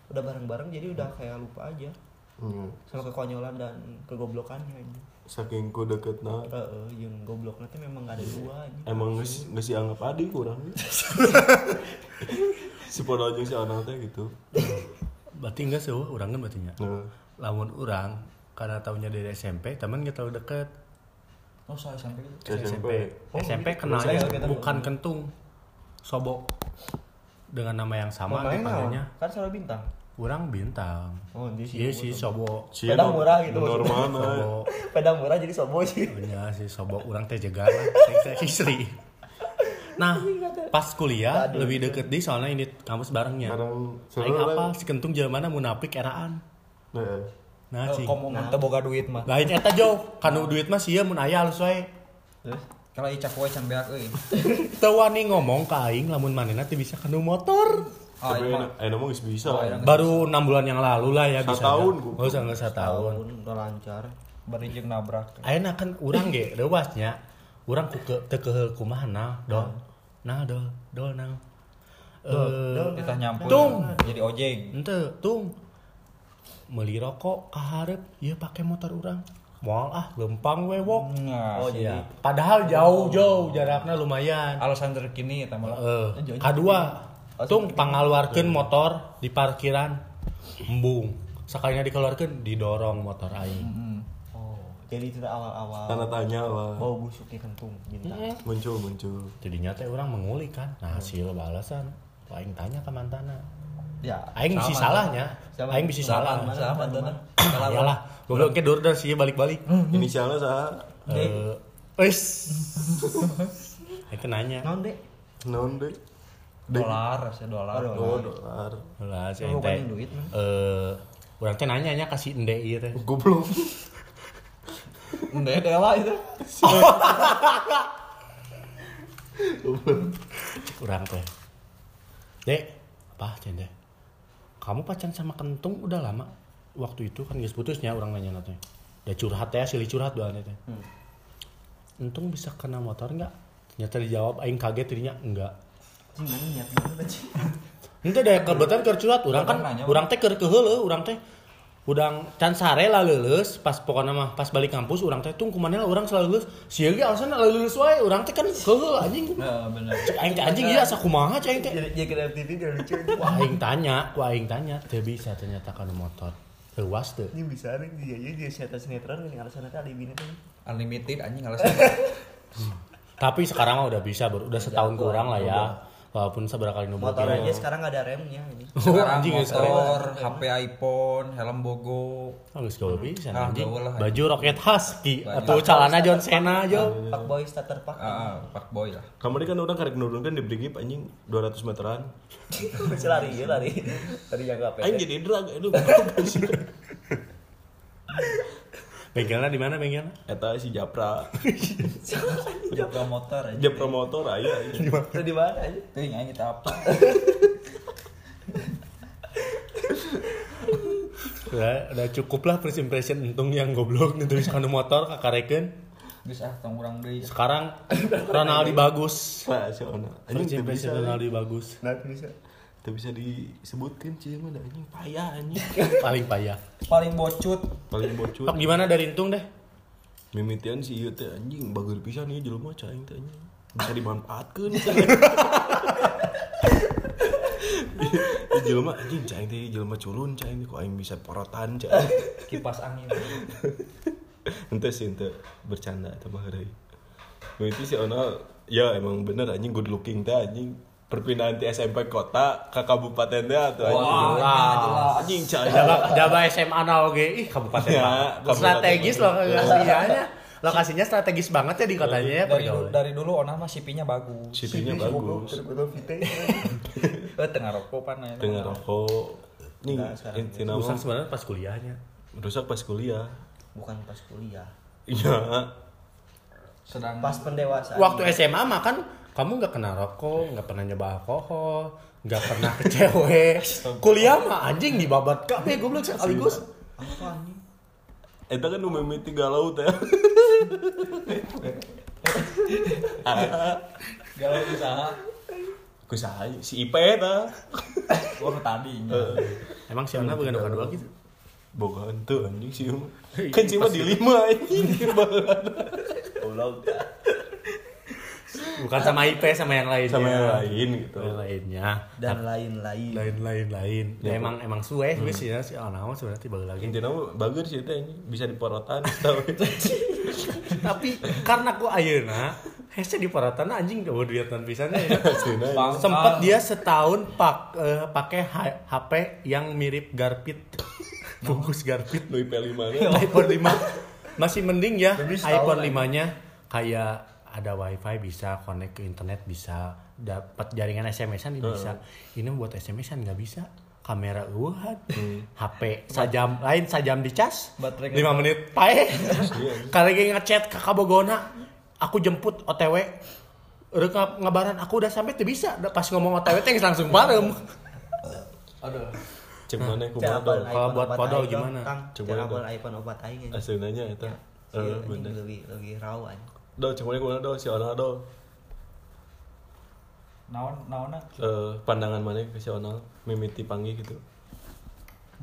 C: Udah bareng-bareng jadi udah kayak lupa aja
B: Hmm.
C: sama kekonyolan dan kegoblokannya anjing.
B: Saking ku deketna.
C: Heeh, yang gobloknya tuh memang gak ada dua anjing.
B: Emang geus geus dianggap
A: <laughs>
B: adik kurang. si podo aja si anak teh gitu.
A: berarti enggak sih orang kan berarti nya
B: Nah,
A: lamun orang karena tahunya dari SMP teman nggak terlalu deket
D: Oh, saya sampai gitu.
B: SMP.
A: SMP kenalnya bukan kentung sobok dengan nama yang sama
C: Namanya
A: dipanggilnya
C: naon? Kan selalu bintang.
A: Urang bintang.
C: Oh, di sini.
A: Iya si sobo.
B: Cie,
C: Padahal
B: no-
C: murah gitu
B: Normal
D: <laughs>
B: mah.
A: Sobo.
C: Pedang murah jadi sobo sih.
A: Ya si sobo urang teh jaga lah. Teh istri. Nah, pas kuliah lebih deket di soalnya ini kampus
D: Iya.
A: barengnya.
B: Sekarang
A: Aing
B: seru
A: apa
B: lah.
A: si kentung mana munafik eraan.
B: Nah,
A: Nah,
D: Eh,
A: cing.
D: Komongan teu boga duit mah.
A: Lain eta jauh, kanu duit mah sia mun aya halus wae.
C: Terus
D: Kalau icak wae can beak euy.
A: Teu wani ngomong ka aing lamun manehna teu bisa kanu motor.
D: Ah,
B: tapi
D: emang.
B: enak, enak mah geus bisa.
D: Oh, enak.
A: Baru 6 bulan yang lalu lah ya bisa.
B: Satahun,
A: ya.
B: gua.
A: Nggak usah nggak tahun.
C: tahun udah lancar.
D: Bari jeung nabrak.
A: Ayeuna kan urang ge leuwasnya. Urang ku ke teu keuheul kumaha nah, dol.
B: Hmm.
A: Nah, dol, dol nah. Eh,
D: Kita nyampur.
A: Tung.
D: Jadi ojeng.
A: henteu tung. Meuli rokok ka hareup ieu pake Iya, motor urang. Moal ah lempang we wok.
D: Nah,
C: Oh,
A: Iya. Eh,
C: jadi
A: Padahal jauh jauh jarakna lumayan.
D: alasan terkini eta mah.
A: Eh, kadua tung pangaluarkeun motor di parkiran. Embung. Sakalinya dikeluarkeun didorong motor aing.
D: Hmm.
C: oh, jadi itu awal-awal
B: Tanda tanya lah.
D: Oh.
C: bau busuk di kentung bintang.
A: Iya.
B: Muncul muncul.
A: jadinya teh orang mengulik kan nah hasil balasan aing tanya ke mantana
C: Ya.
A: aing bisa salahnya
C: Sama.
A: aing bisa salah
C: Sama.
D: Salah mantan.
A: salah lah goblok ke dorda sih balik-balik
D: Hmm,
B: Inisialnya sah.
A: eh wis <laughs> aing teh nanya
C: Non dek,
B: Non deh.
D: Dolar, saya dolar.
C: Aduh.
B: Oh dolar.
A: lah si
C: Lu
A: aing teh
C: bukan duit, mah.
A: eh urang teh nanya nya kasih ende ieu teh
B: Goblok.
D: Enggak ada lah itu.
A: urang teh dek apa cendeh kamu pacaran sama kentung udah lama waktu itu kan guys putusnya orang nanya nanti udah curhat ya silih curhat doanya teh untung bisa kena motor nggak ternyata dijawab aing kaget dirinya enggak
C: Cing, mana niat banget, cing.
A: Ente deh kebetulan keur curhat urang kan
D: Orang nanya,
A: urang teh keur keheuleuh urang teh udang can sare lah leuleus pas pokoknya mah pas balik kampus urang teh tung kumaneh lah urang selalu leuleus sia ge alasan lah leuleus wae urang teh kan keheuleuh anjing
D: Nah, bener.
A: Cek aing teh anjing ieu asa kumaha cek aing teh
C: Jadi jadi kena FTV udah lucu.
A: ku aing tanya ku aing tanya teu bisa ternyata kana motor Tewas tuh.
C: <laughs> Ini bisa nih dia dia dia sinetron sinetron ini alasan ada alibi nih.
D: Unlimited anjing alasan.
A: Tapi sekarang mah udah bisa, Bro. Udah setahun kurang lah ya. Walaupun seberapa kali nunggu.
C: Motor aja sekarang nggak ada remnya ini.
D: Sekarang
A: anjing, guys,
D: motor, HP iPhone, helm bogo.
A: Oh, geus gawe pisan
D: Ah,
A: anjing.
D: gawe lah, anjing.
A: Baju roket husky
D: Baju.
A: atau celana John Cena aja.
C: Pak <laughs> boy starter pack.
D: Ah, pak boy lah.
B: Kamari kan orang karek nurunkan di Brigip anjing 200 meteran.
C: Masih lari ya lari. Tadi jaga apa?
B: Anjing jadi eh, drag aduh.
A: Bengkelnya di mana bengkelnya?
B: <laughs> Eta si Japra.
D: Juga motor aja.
B: Japra motor aya anjing.
C: Itu di mana aja?
D: Itu yang aja apa?
A: Ya, Udah, udah cukup lah first impression untung yang goblok <laughs> nulis kanu motor kakareken.
D: Geus ah tong urang deui.
B: <coughs>
A: Sekarang Ronaldo bagus.
B: Nah, si Ona.
A: First
B: Anjing teu bisa.
A: impression Ronaldo bagus.
C: Nah, bisa.
B: Teu bisa disebutkan cie mah dah, anjing payah anjing.
A: Paling payah.
D: Paling bocut.
B: Paling bocor.
A: Pak gimana dari untung deh?
B: Mimitian si ieu teh anjing bageul pisan ieu jelema cai teh anjing. Bisa dimanfaatkeun. Ieu jelema anjing cai teh jelema culun cai teh kok aing bisa porotan cai.
C: <laughs>
D: Kipas angin.
B: Ente sih ente bercanda itu mah hari. Mimiti si Ona ya emang bener anjing good looking teh anjing perpindahan ti SMP kota ke kabupaten teh atuh anjing.
D: Wah, ini jelas.
B: Anjing cai.
A: Jaba, Jaba SMA na oge. Ih, kabupaten
B: Ya,
A: Pak.
B: kabupaten
A: Strategis
B: Pak.
A: lokasinya. Lokasinya strategis banget ya di kotanya ya
D: Dari, du-
A: pergaulan.
D: dari dulu Ona mah CP-nya bagus.
B: CP-nya bagus.
C: Terkutuk vite.
D: <laughs> Eh tengah rokok pan.
B: Dengan rokok. Nih, intinya
A: Rusak
B: mah
A: sebenarnya pas kuliahnya.
B: rusak pas kuliah.
C: Bukan pas kuliah.
B: Iya.
D: Sedang
C: Pas pendewasaan.
A: Waktu SMA mah kan kamu nggak kena rokok, nggak pernah nyoba alkohol, nggak pernah ke cewek. Kuliah mah anjing dibabat kafe goblok sekaligus.
C: Apa anjing?
B: Eta Eh, kan nu mimiti galau <laughs> teh.
D: galau usaha.
B: Kusaha si Ipe eta.
D: Oh tadi.
A: Emang si Ona bukan dua gitu.
B: Boga henteu anjing si Uma. Kan si Uma di lima anjing. Ulang
A: Bukan sama IP sama yang lainnya.
B: sama yang lain gitu.
A: Yang lainnya.
C: Dan lain-lain.
A: lain-lain lain. Ya, emang emang suwe suwe sih ya si Ona mah sebenarnya tiba lagi.
B: Intinya mah bagus sih teh anjing, bisa diporotan <laughs> tau.
A: Tapi karena ku ayeuna hese di paratana anjing gak bodo liatan pisannya ya.
B: Aslinya,
D: Bang.
A: Sempat dia setahun pak eh, pakai H- HP yang mirip Garpit. Bungkus Garpit.
B: nu Ipe lima
A: Ya, iPhone 5 masih mending ya
D: Lebih setahun
A: iPhone
D: lah.
A: 5-nya kayak ada wifi bisa connect ke internet bisa dapat jaringan SMS-an bisa ini buat SMS-an nggak bisa kamera eueuhan HP sajam lain sajam dicas
D: Hmm. Baterai Iya,
A: 5 menit pae kali lagi ngechat kakak Bogona aku jemput OTW Udah ngab- ngabaran aku udah sampai tuh bisa Da- pas ngomong OTW teh langsung bareng
D: Iya. Aduh.
B: Cek mana ku
A: Kalau
B: modal.
C: Jawaban iPhone
A: buat
C: obat
A: podol
C: aing,
A: gimana?
C: Kang.
B: Coba
C: Jawaban iPhone obat aing anjing.
B: Aslinya nya eta.
C: Iya,
B: Eh
C: anjing,
B: bener.
C: lebih lebih rawan.
B: Do cek mana ku modal si Onal do.
D: Naon naona
B: Eh pandangan mana ke si Onal mimiti panggil gitu.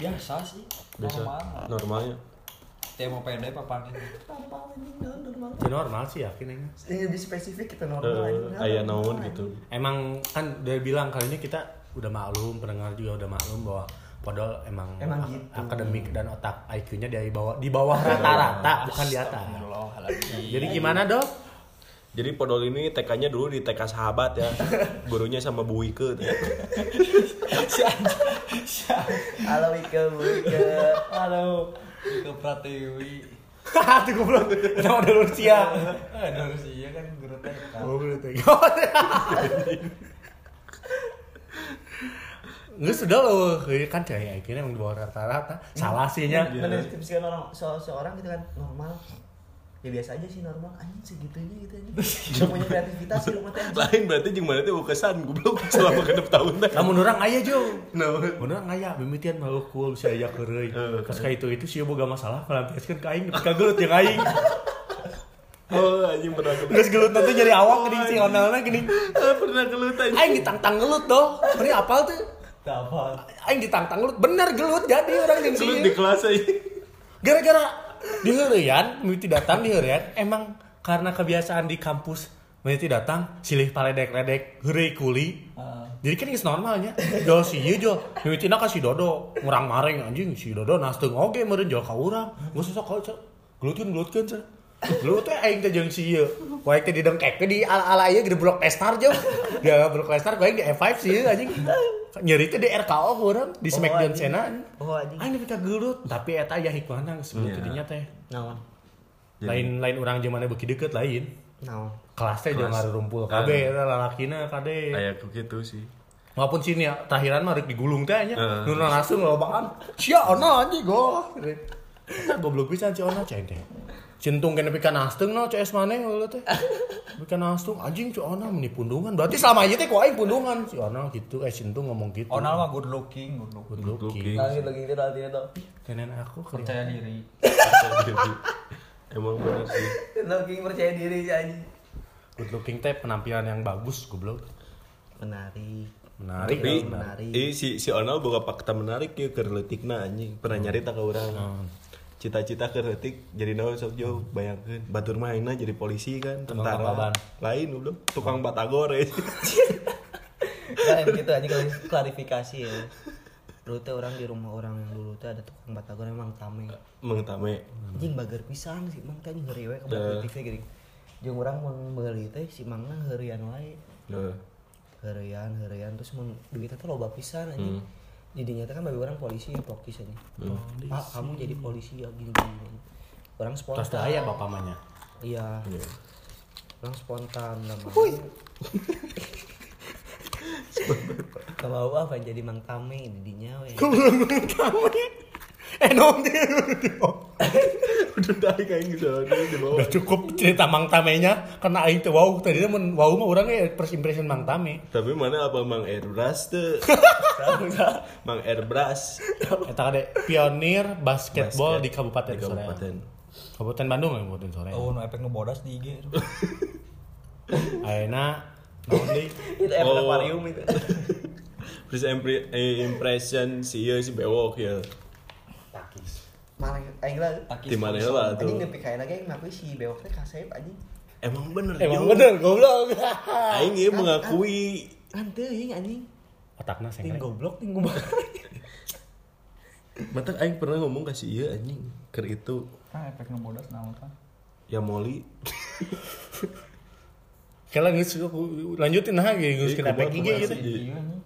D: biasa sih.
B: Biasa
D: Normal.
B: normalnya.
D: Dia mau pede papan
A: Itu normal sih yakin aing.
C: Ini lebih spesifik kita
B: Eh aya naon gitu.
A: Emang kan udah bilang kali ini kita udah maklum, pendengar juga udah maklum bahwa Podol emang,
C: Emang
A: ak-
C: gitu.
A: akademik dan otak IQ-nya di bawah di bawah rata-rata, bukan di atas. Jadi gimana, Dok? <laughs>
B: Jadi Podol ini TK-nya dulu di TK sahabat
A: <laughs>
B: ya. Gurunya sama Bu Wike. tuh.
C: Halo Wike, Wike.
D: Halo. Ke Pratiwi.
A: Hahaha, tuh goblok. Nama ada Lucia.
D: Aduh sih iya kan guru TK.
A: Oh, bener, tega. Nggak sudah loh, kan cahaya IQ-nya
B: Iya.
C: Iya.
A: emang di bawah rata-rata. Salah sihnya.
C: Mendeskripsikan orang so- seorang gitu kan normal. ya biasa aja sih normal anjing segitunya gitu anjing gak punya kreativitas sih rumah teh anjing.
B: lain berarti jeung mana teh kesan goblok selama genep tahun teh
A: Namun orang aya jo.
B: Naon?
A: Mun orang aya bimitian mah cool si aya keureuy. Pas ka itu itu sih boga masalah melampiaskeun ka aing nepi ka gelut jeung aing.
B: oh anjing pernah gelut
A: Geus gelut teh jadi awak geuning si onalna geuning.
B: pernah gelut anjing
A: Aing ditantang gelut doh. Meni apal tuh?
C: Gak apa
A: Aing ditantang gelut bener gelut jadi orang jeung
B: gelut
A: sieun.
B: di kelas anjing
A: gara-gara di Heurean, Mimiti datang di Heurean, emang karena kebiasaan di kampus Mimiti datang, silih paledek-ledek, heureuy kuli.
C: Ah.
A: Jadi kan geus normalnya. Jo si ieu jo, Mimiti na ka si Dodo, ngurang mareng anjing si Dodo nasteung oge meureun jauh ka urang. Geus sosok kau cer. Gelutkeun-gelutkeun cer. Gelut teh aing teh jeung si ieu. Poek teh didengkek di ala-ala ieu gede blok pestar jo. Ya blok pestar gue di F5 si ieu anjing. Nyeri teh di RKO urang, di Smackdown
C: anjing.
A: Sena.
C: Oh, anjing.
A: Aing nepi ka gelut, tapi eta aya hikmahna sebelum
B: Iya.
A: jadinya teh.
C: naon
A: Lain lain orang zamannya beki deket lain.
C: naon
A: Kelas Kan. teh jeung ngarumpul
B: Ah.
A: kabeh eta lalakina kade.
B: kayak gitu
A: <laughs>
B: sih
A: Walaupun sini ya, terakhiran mah rek digulung teh nya.
B: Heeh.
A: Nurna langsung lobaan. Sia ana anjing go. Eta goblok pisan si ona cai teh. Centung kene pika nasteung no CS maneh heula teh. Pika nasteung anjing si ona meni pundungan. Berarti selama ieu teh ku aing pundungan si ona gitu eh centung ngomong gitu.
D: Onal mah good looking, good looking.
A: Good looking.
C: lagi lagi itu nanti itu
A: Kenen aku kelihatan.
D: Percaya diri.
B: Jadi, emang bener sih
C: <laughs> lagi percaya diri sih, anjing
A: Good looking teh penampilan yang bagus goblok.
C: menarik
A: Menarik.
B: tapi
A: ya, menarik.
C: menarik.
B: eh, si si Onal boga fakta menarik ya kerletikna anjing
A: Hmm.
B: pernah nyarita ke orang cita-cita kerletik jadi naon sok jauh bayangkan batur mainna jadi polisi kan
A: Tukang
B: tentara
A: bababan.
B: lain belum tukang batagor <laughs> ya
C: keren gitu anjing klari- klarifikasi ya dulu teh orang di rumah orang yang dulu teh ada tukang batagor emang tame
B: mengtame
C: anjing bager pisang sih mang teh anjing heuri we ka politik teh gini jeung urang mun meuli teh si mangna heurian wae Iya.
B: Heeh.
C: heurian heurian terus mun duitnya teh loba pisan anjing jadinya teh kan bagi orang polisi ya pokis anjing pak kamu jadi polisi ya gini gini gini. orang
A: Terus
C: spontan
A: bahaya bapak mahnya.
C: iya orang spontan lah kalau apa jadi mang tame didinya we
A: Eh nom dia.
B: udah tarik aing ke sana di bawah
A: Udah cukup cerita Mang Tamenya karena aing teh wow tadi teh mun wow mah urang ge first impression Mang
B: <laughs>
A: Tame.
B: tapi mana apa mang airbrush tuh mang airbrush
A: Eta kade pionir basketball
B: Basket
A: di Kabupaten
B: di
A: Soreang.
B: kabupaten
A: Kabupaten Bandung ya Kabupaten Soreang.
D: Oh, no efek ngebodas di IG.
A: Ayeuna naon deui?
C: itu efek
B: Oh.
C: akuarium itu
B: First impre- eh, impression si iya si bewok ya
A: Takis.
C: malah aing lah
B: di mana lah
C: anjing
B: tuh
C: nepi kain lagi aing ngapain si bewok teh kasep anjing
B: emang bener
A: Emang
B: Jo.
A: Eh, bener goblok.
B: aing
C: Ah,
B: ieu mengakui
C: kan teuing anjing
A: Otakna
C: ting
A: sengklek.
C: goblok ting <laughs> goblok ah,
B: Mata aing pernah ngomong kasih iya anjing ker itu
D: Ah, efek ngebodas naon kan?
B: ya moli
A: Kela geus lanjutin nah ge geus
B: Ih,
A: kena
B: kumaha,
A: back IG
B: kumaha
A: gitu.
B: sih?
D: Iya nih.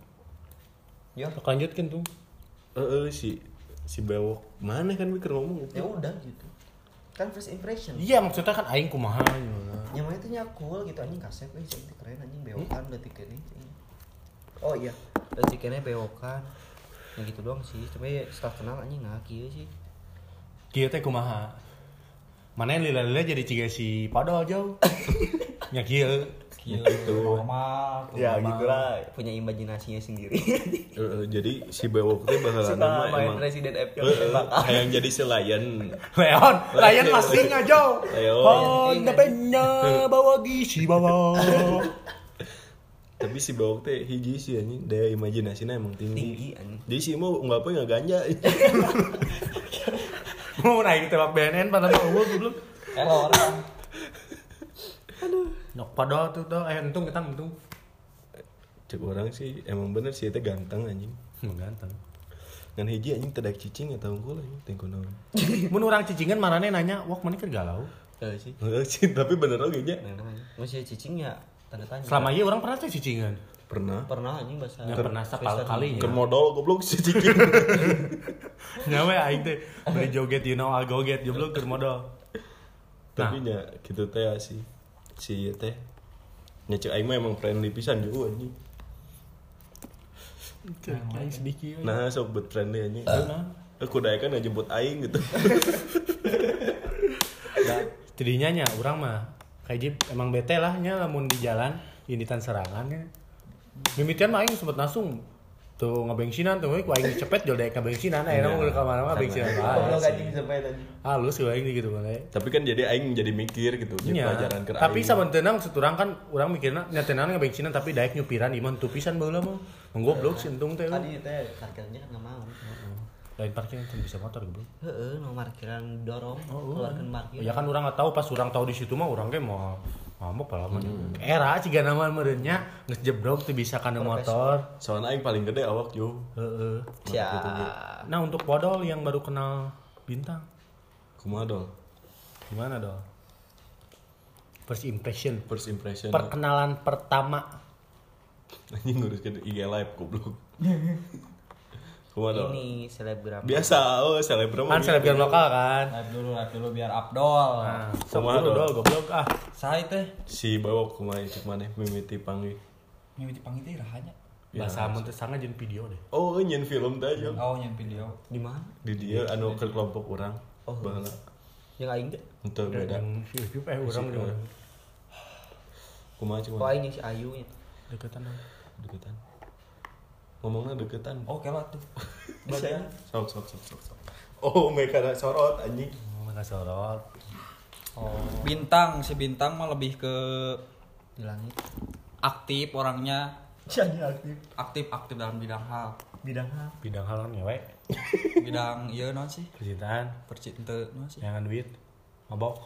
C: Ya,
A: Sok Lanjutkeun tuh.
B: eh eh, si si bewok mana kan mikir ngomong
C: ya udah gitu kan first impression
A: Iya maksudnya kan aing kumaha gitu.
C: nyamanya tuh nyakul gitu anjing kasep eh cantik keren anjing bewokan detik ini oh iya detik ini bewokan ya gitu doang sih cuma ya setelah kenal anjing nggak kieu sih
A: Kieu teh kumaha? Mana yang lila-lila jadi ciga si Padol jauh. Nya kieu.
D: Gila,
B: Gitu.
D: normal. tuh,
B: Ya,
C: Iya.
D: normal.
C: gitulah punya imajinasinya sendiri
B: Eh,
C: <laughs>
B: eh, jadi si bewok teh bakal nama
C: suka main
B: emang
C: Resident Evil
B: Eh, eh,
C: emang
B: hayang jadi si lion
A: Leon, Lion masih ngajau.
B: Leon.
A: Honda Penya bawa gizi bawa.
B: tapi si bewok teh hiji sih anjing daya imajinasinya emang tinggi,
C: tinggi anjing
B: jadi si mau nggak apa nggak ganja <laughs>
A: Mau naik tembak BNN pada mau gue belum.
D: Error.
A: Nok Padol tuh tuh eh entung kita entung.
B: cek orang sih emang bener sih teh ganteng anjing
A: Mengganteng.
B: dan hiji anjing tedak cicing ya, atau unggul anjing tengko naon
A: Mun urang cicingan marane nanya, "Wah, mana keur galau?"
C: Tuh sih
B: Heeh, sih tapi bener oge nya
C: masih cicing ya tanda tanya
A: Selama ieu urang pernah teh cicingan. <laughs>
B: pernah
C: pernah anjing bahasa
A: Nggak pernah sepala
C: Iya.
A: kali.
B: Keur modal goblok si cicing
A: Nyawa aing teh beli joget you know I go get jomblo keur modal.
B: tapi nya gitu teh sih si ieu teh nya cek aing mah emang friendly pisan juga anjing
A: Aing sedikit.
B: nah sok buat friendly anjing
A: Nah.
B: aku daya kan ngejemput aing gitu
A: tidinya nya orang mah kayak jip, emang bete lah nya lamun di jalan initan serangannya mimitian mah aing sempet nasung tuh ngebengsinan tuh ku aing cepet jol daek ngebengsinan
B: Iya,
A: akhirnya mau ke mana mana bengsinan
C: Kalau
A: bae.
C: gaji bisa bayar tadi.
A: ya. halus ku aing gitu bae
B: <laughs> tapi kan jadi aing jadi mikir gitu jadi
A: Nya,
B: pelajaran ke
A: Iya. tapi
B: aing.
A: sabentena maksud urang kan urang mikirna nya tenan ngebengsinan tapi daek nyupiran iman tuh pisan baheula mah menggoblok si entung teh
C: Tadi teh parkirnya kan nggak mau.
A: lain parkir teu bisa motor goblok
C: Heeh, no parkiran dorong, keluarkan parkir.
A: Oh, Ya kan orang nggak tahu pas orang tahu di situ mah orang kayak mau ngamuk lah mah. Era ciga nama merenya geus jebrog teu bisa kana motor.
B: soalnya aing paling gede awak yo
A: Heeh.
C: Siap.
A: Nah, untuk podol yang baru kenal bintang
B: kumaha dong
A: gimana dong? First impression.
B: first impression
A: Perkenalan pertama.
B: anjing ngurus ke IG live
A: <laughs>
B: goblok kumaha dong
C: Ini selebgram.
B: biasa oh selebgram
A: Kan selebgram lokal kan.
D: Live dulu, live dulu biar Abdol.
A: Nah,
B: Kumaha
A: sepuluh
B: dong?
A: dol goblok ah.
D: Saya teh
B: si bawa kumaha cek maneh mimiti panggil
D: nyebut pangit teh rahanya.
A: Bahasa amun teh sangat jeung video deh.
B: oh nyen film teh yo
D: Oh, yang video.
C: Di mana?
B: di dia anu ke kelompok orang oh. bahala
C: Yang aing teh.
B: itu beda
A: Yang YouTube eh orang juga
B: kumaha cek
C: Oh
B: maneh
C: aing yang si Ayu nya.
A: deketan. dong.
B: deketan ngomongnya deketan
A: Oh,
D: Oke lah Oh, tuh.
A: ya?
B: Siapa? sok sok sok sok sok oh mereka ada sorot anjing
A: Oh, mana sorot.
D: Oh. Bintang, si Bintang mah lebih ke
C: Di langit.
D: aktif orangnya,
C: Si Ayu aktif.
D: aktif-aktif dalam bidang hal.
C: Bidang apa?
A: Bidang halan ngewe,
D: Bidang iya non sih,
A: percintaan,
D: percinta non sih.
A: jangan duit, mabok.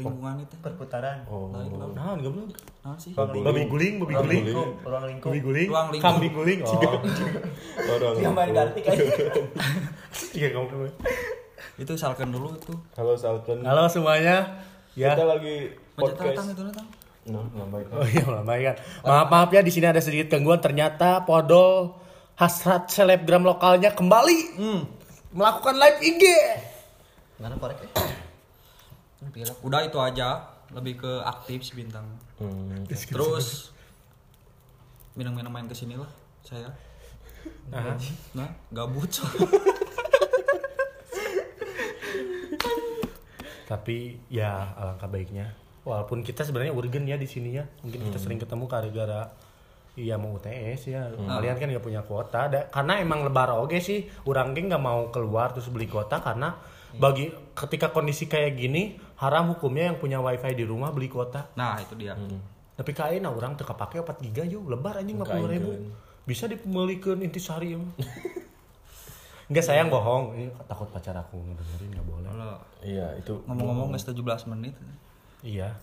D: Lingkungan itu.
C: Perputaran.
B: oh
A: Nah, goblok.
D: Non sih.
B: Babi
A: Babi guling, babi guling.
C: Ruang lingkup.
A: Babi guling.
D: Ruang lingkup.
A: Kambing guling. <laughs> Oh.
B: orang
C: Yang kan? main
B: aku.
C: gartik <laughs> aja.
A: Tiga kamu.
D: Itu salkan dulu tuh.
B: halo Salton
A: Halo semuanya. Ya.
B: kita lagi
D: Pencet datang
B: podcast
D: itu datang.
B: nah nggak baik
A: Oh iya, malam baik kan. Maaf maaf ya di sini ada sedikit gangguan. Ternyata Podol hasrat selebgram lokalnya kembali melakukan live IG.
C: Mana korek? Ini Pilek.
D: Udah itu aja, lebih ke aktif si Bintang.
B: Hmm.
D: Terus minum-minum main kesini lah saya. Nah, gabut.
A: Tapi ya alangkah baiknya. Walaupun kita sebenarnya urgen ya di sini ya. Mungkin kita sering ketemu gara-gara Iya mau UTS ya. Kalian kan nggak punya kuota. Da- karena emang lebar oge sih. Urang geng nggak mau keluar terus beli kuota karena bagi ketika kondisi kayak gini haram hukumnya yang punya wifi di rumah beli kuota.
D: Nah, itu dia.
A: Tapi kain nah orang teka pakai 4 giga yo lebar anjing 50 ribu.
B: Kain,
A: Bisa dipemelikan intisari <laughs> ya. Enggak sayang bohong. Ini takut pacar aku ngedengerin nggak boleh.
D: Kalau
B: iya itu
D: ngomong-ngomong nggak 17 menit.
A: Iya,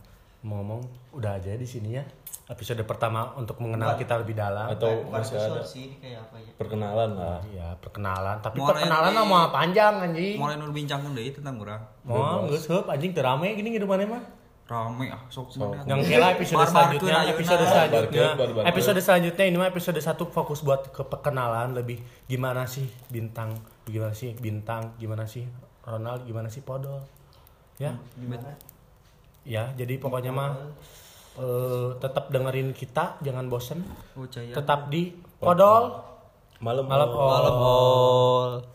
A: ngomong udah aja di sini ya. Episode pertama untuk mengenal kita lebih dalam.
B: atau
C: Bukan
B: masih
C: episode
B: ada
C: sih, ini kayak apa ya?
B: perkenalan lah
A: Iya, perkenalan. Tapi
D: Mulai
A: perkenalan
D: dari-
A: nama panjang anjing.
D: Mulai nu bincangkan deh tentang orang.
A: Mau geus heup anjing teu rame gini di mana mah.
D: Rame ah, sok mana.
A: Yang kela episode
D: Barbarkeun
A: selanjutnya,
D: ayeuna.
A: episode selanjutnya.
B: Barbarkeun, barbarkeun.
A: Episode selanjutnya ini mah episode satu fokus buat ke perkenalan lebih gimana sih bintang, gimana sih bintang, gimana sih Ronald, gimana sih Podol. Ya. Ya, jadi pokoknya mah eh, tetap dengerin kita, jangan bosen.
D: Oh, caya.
A: tetap di Podol
B: malam oh.
A: malam all.
D: Malam.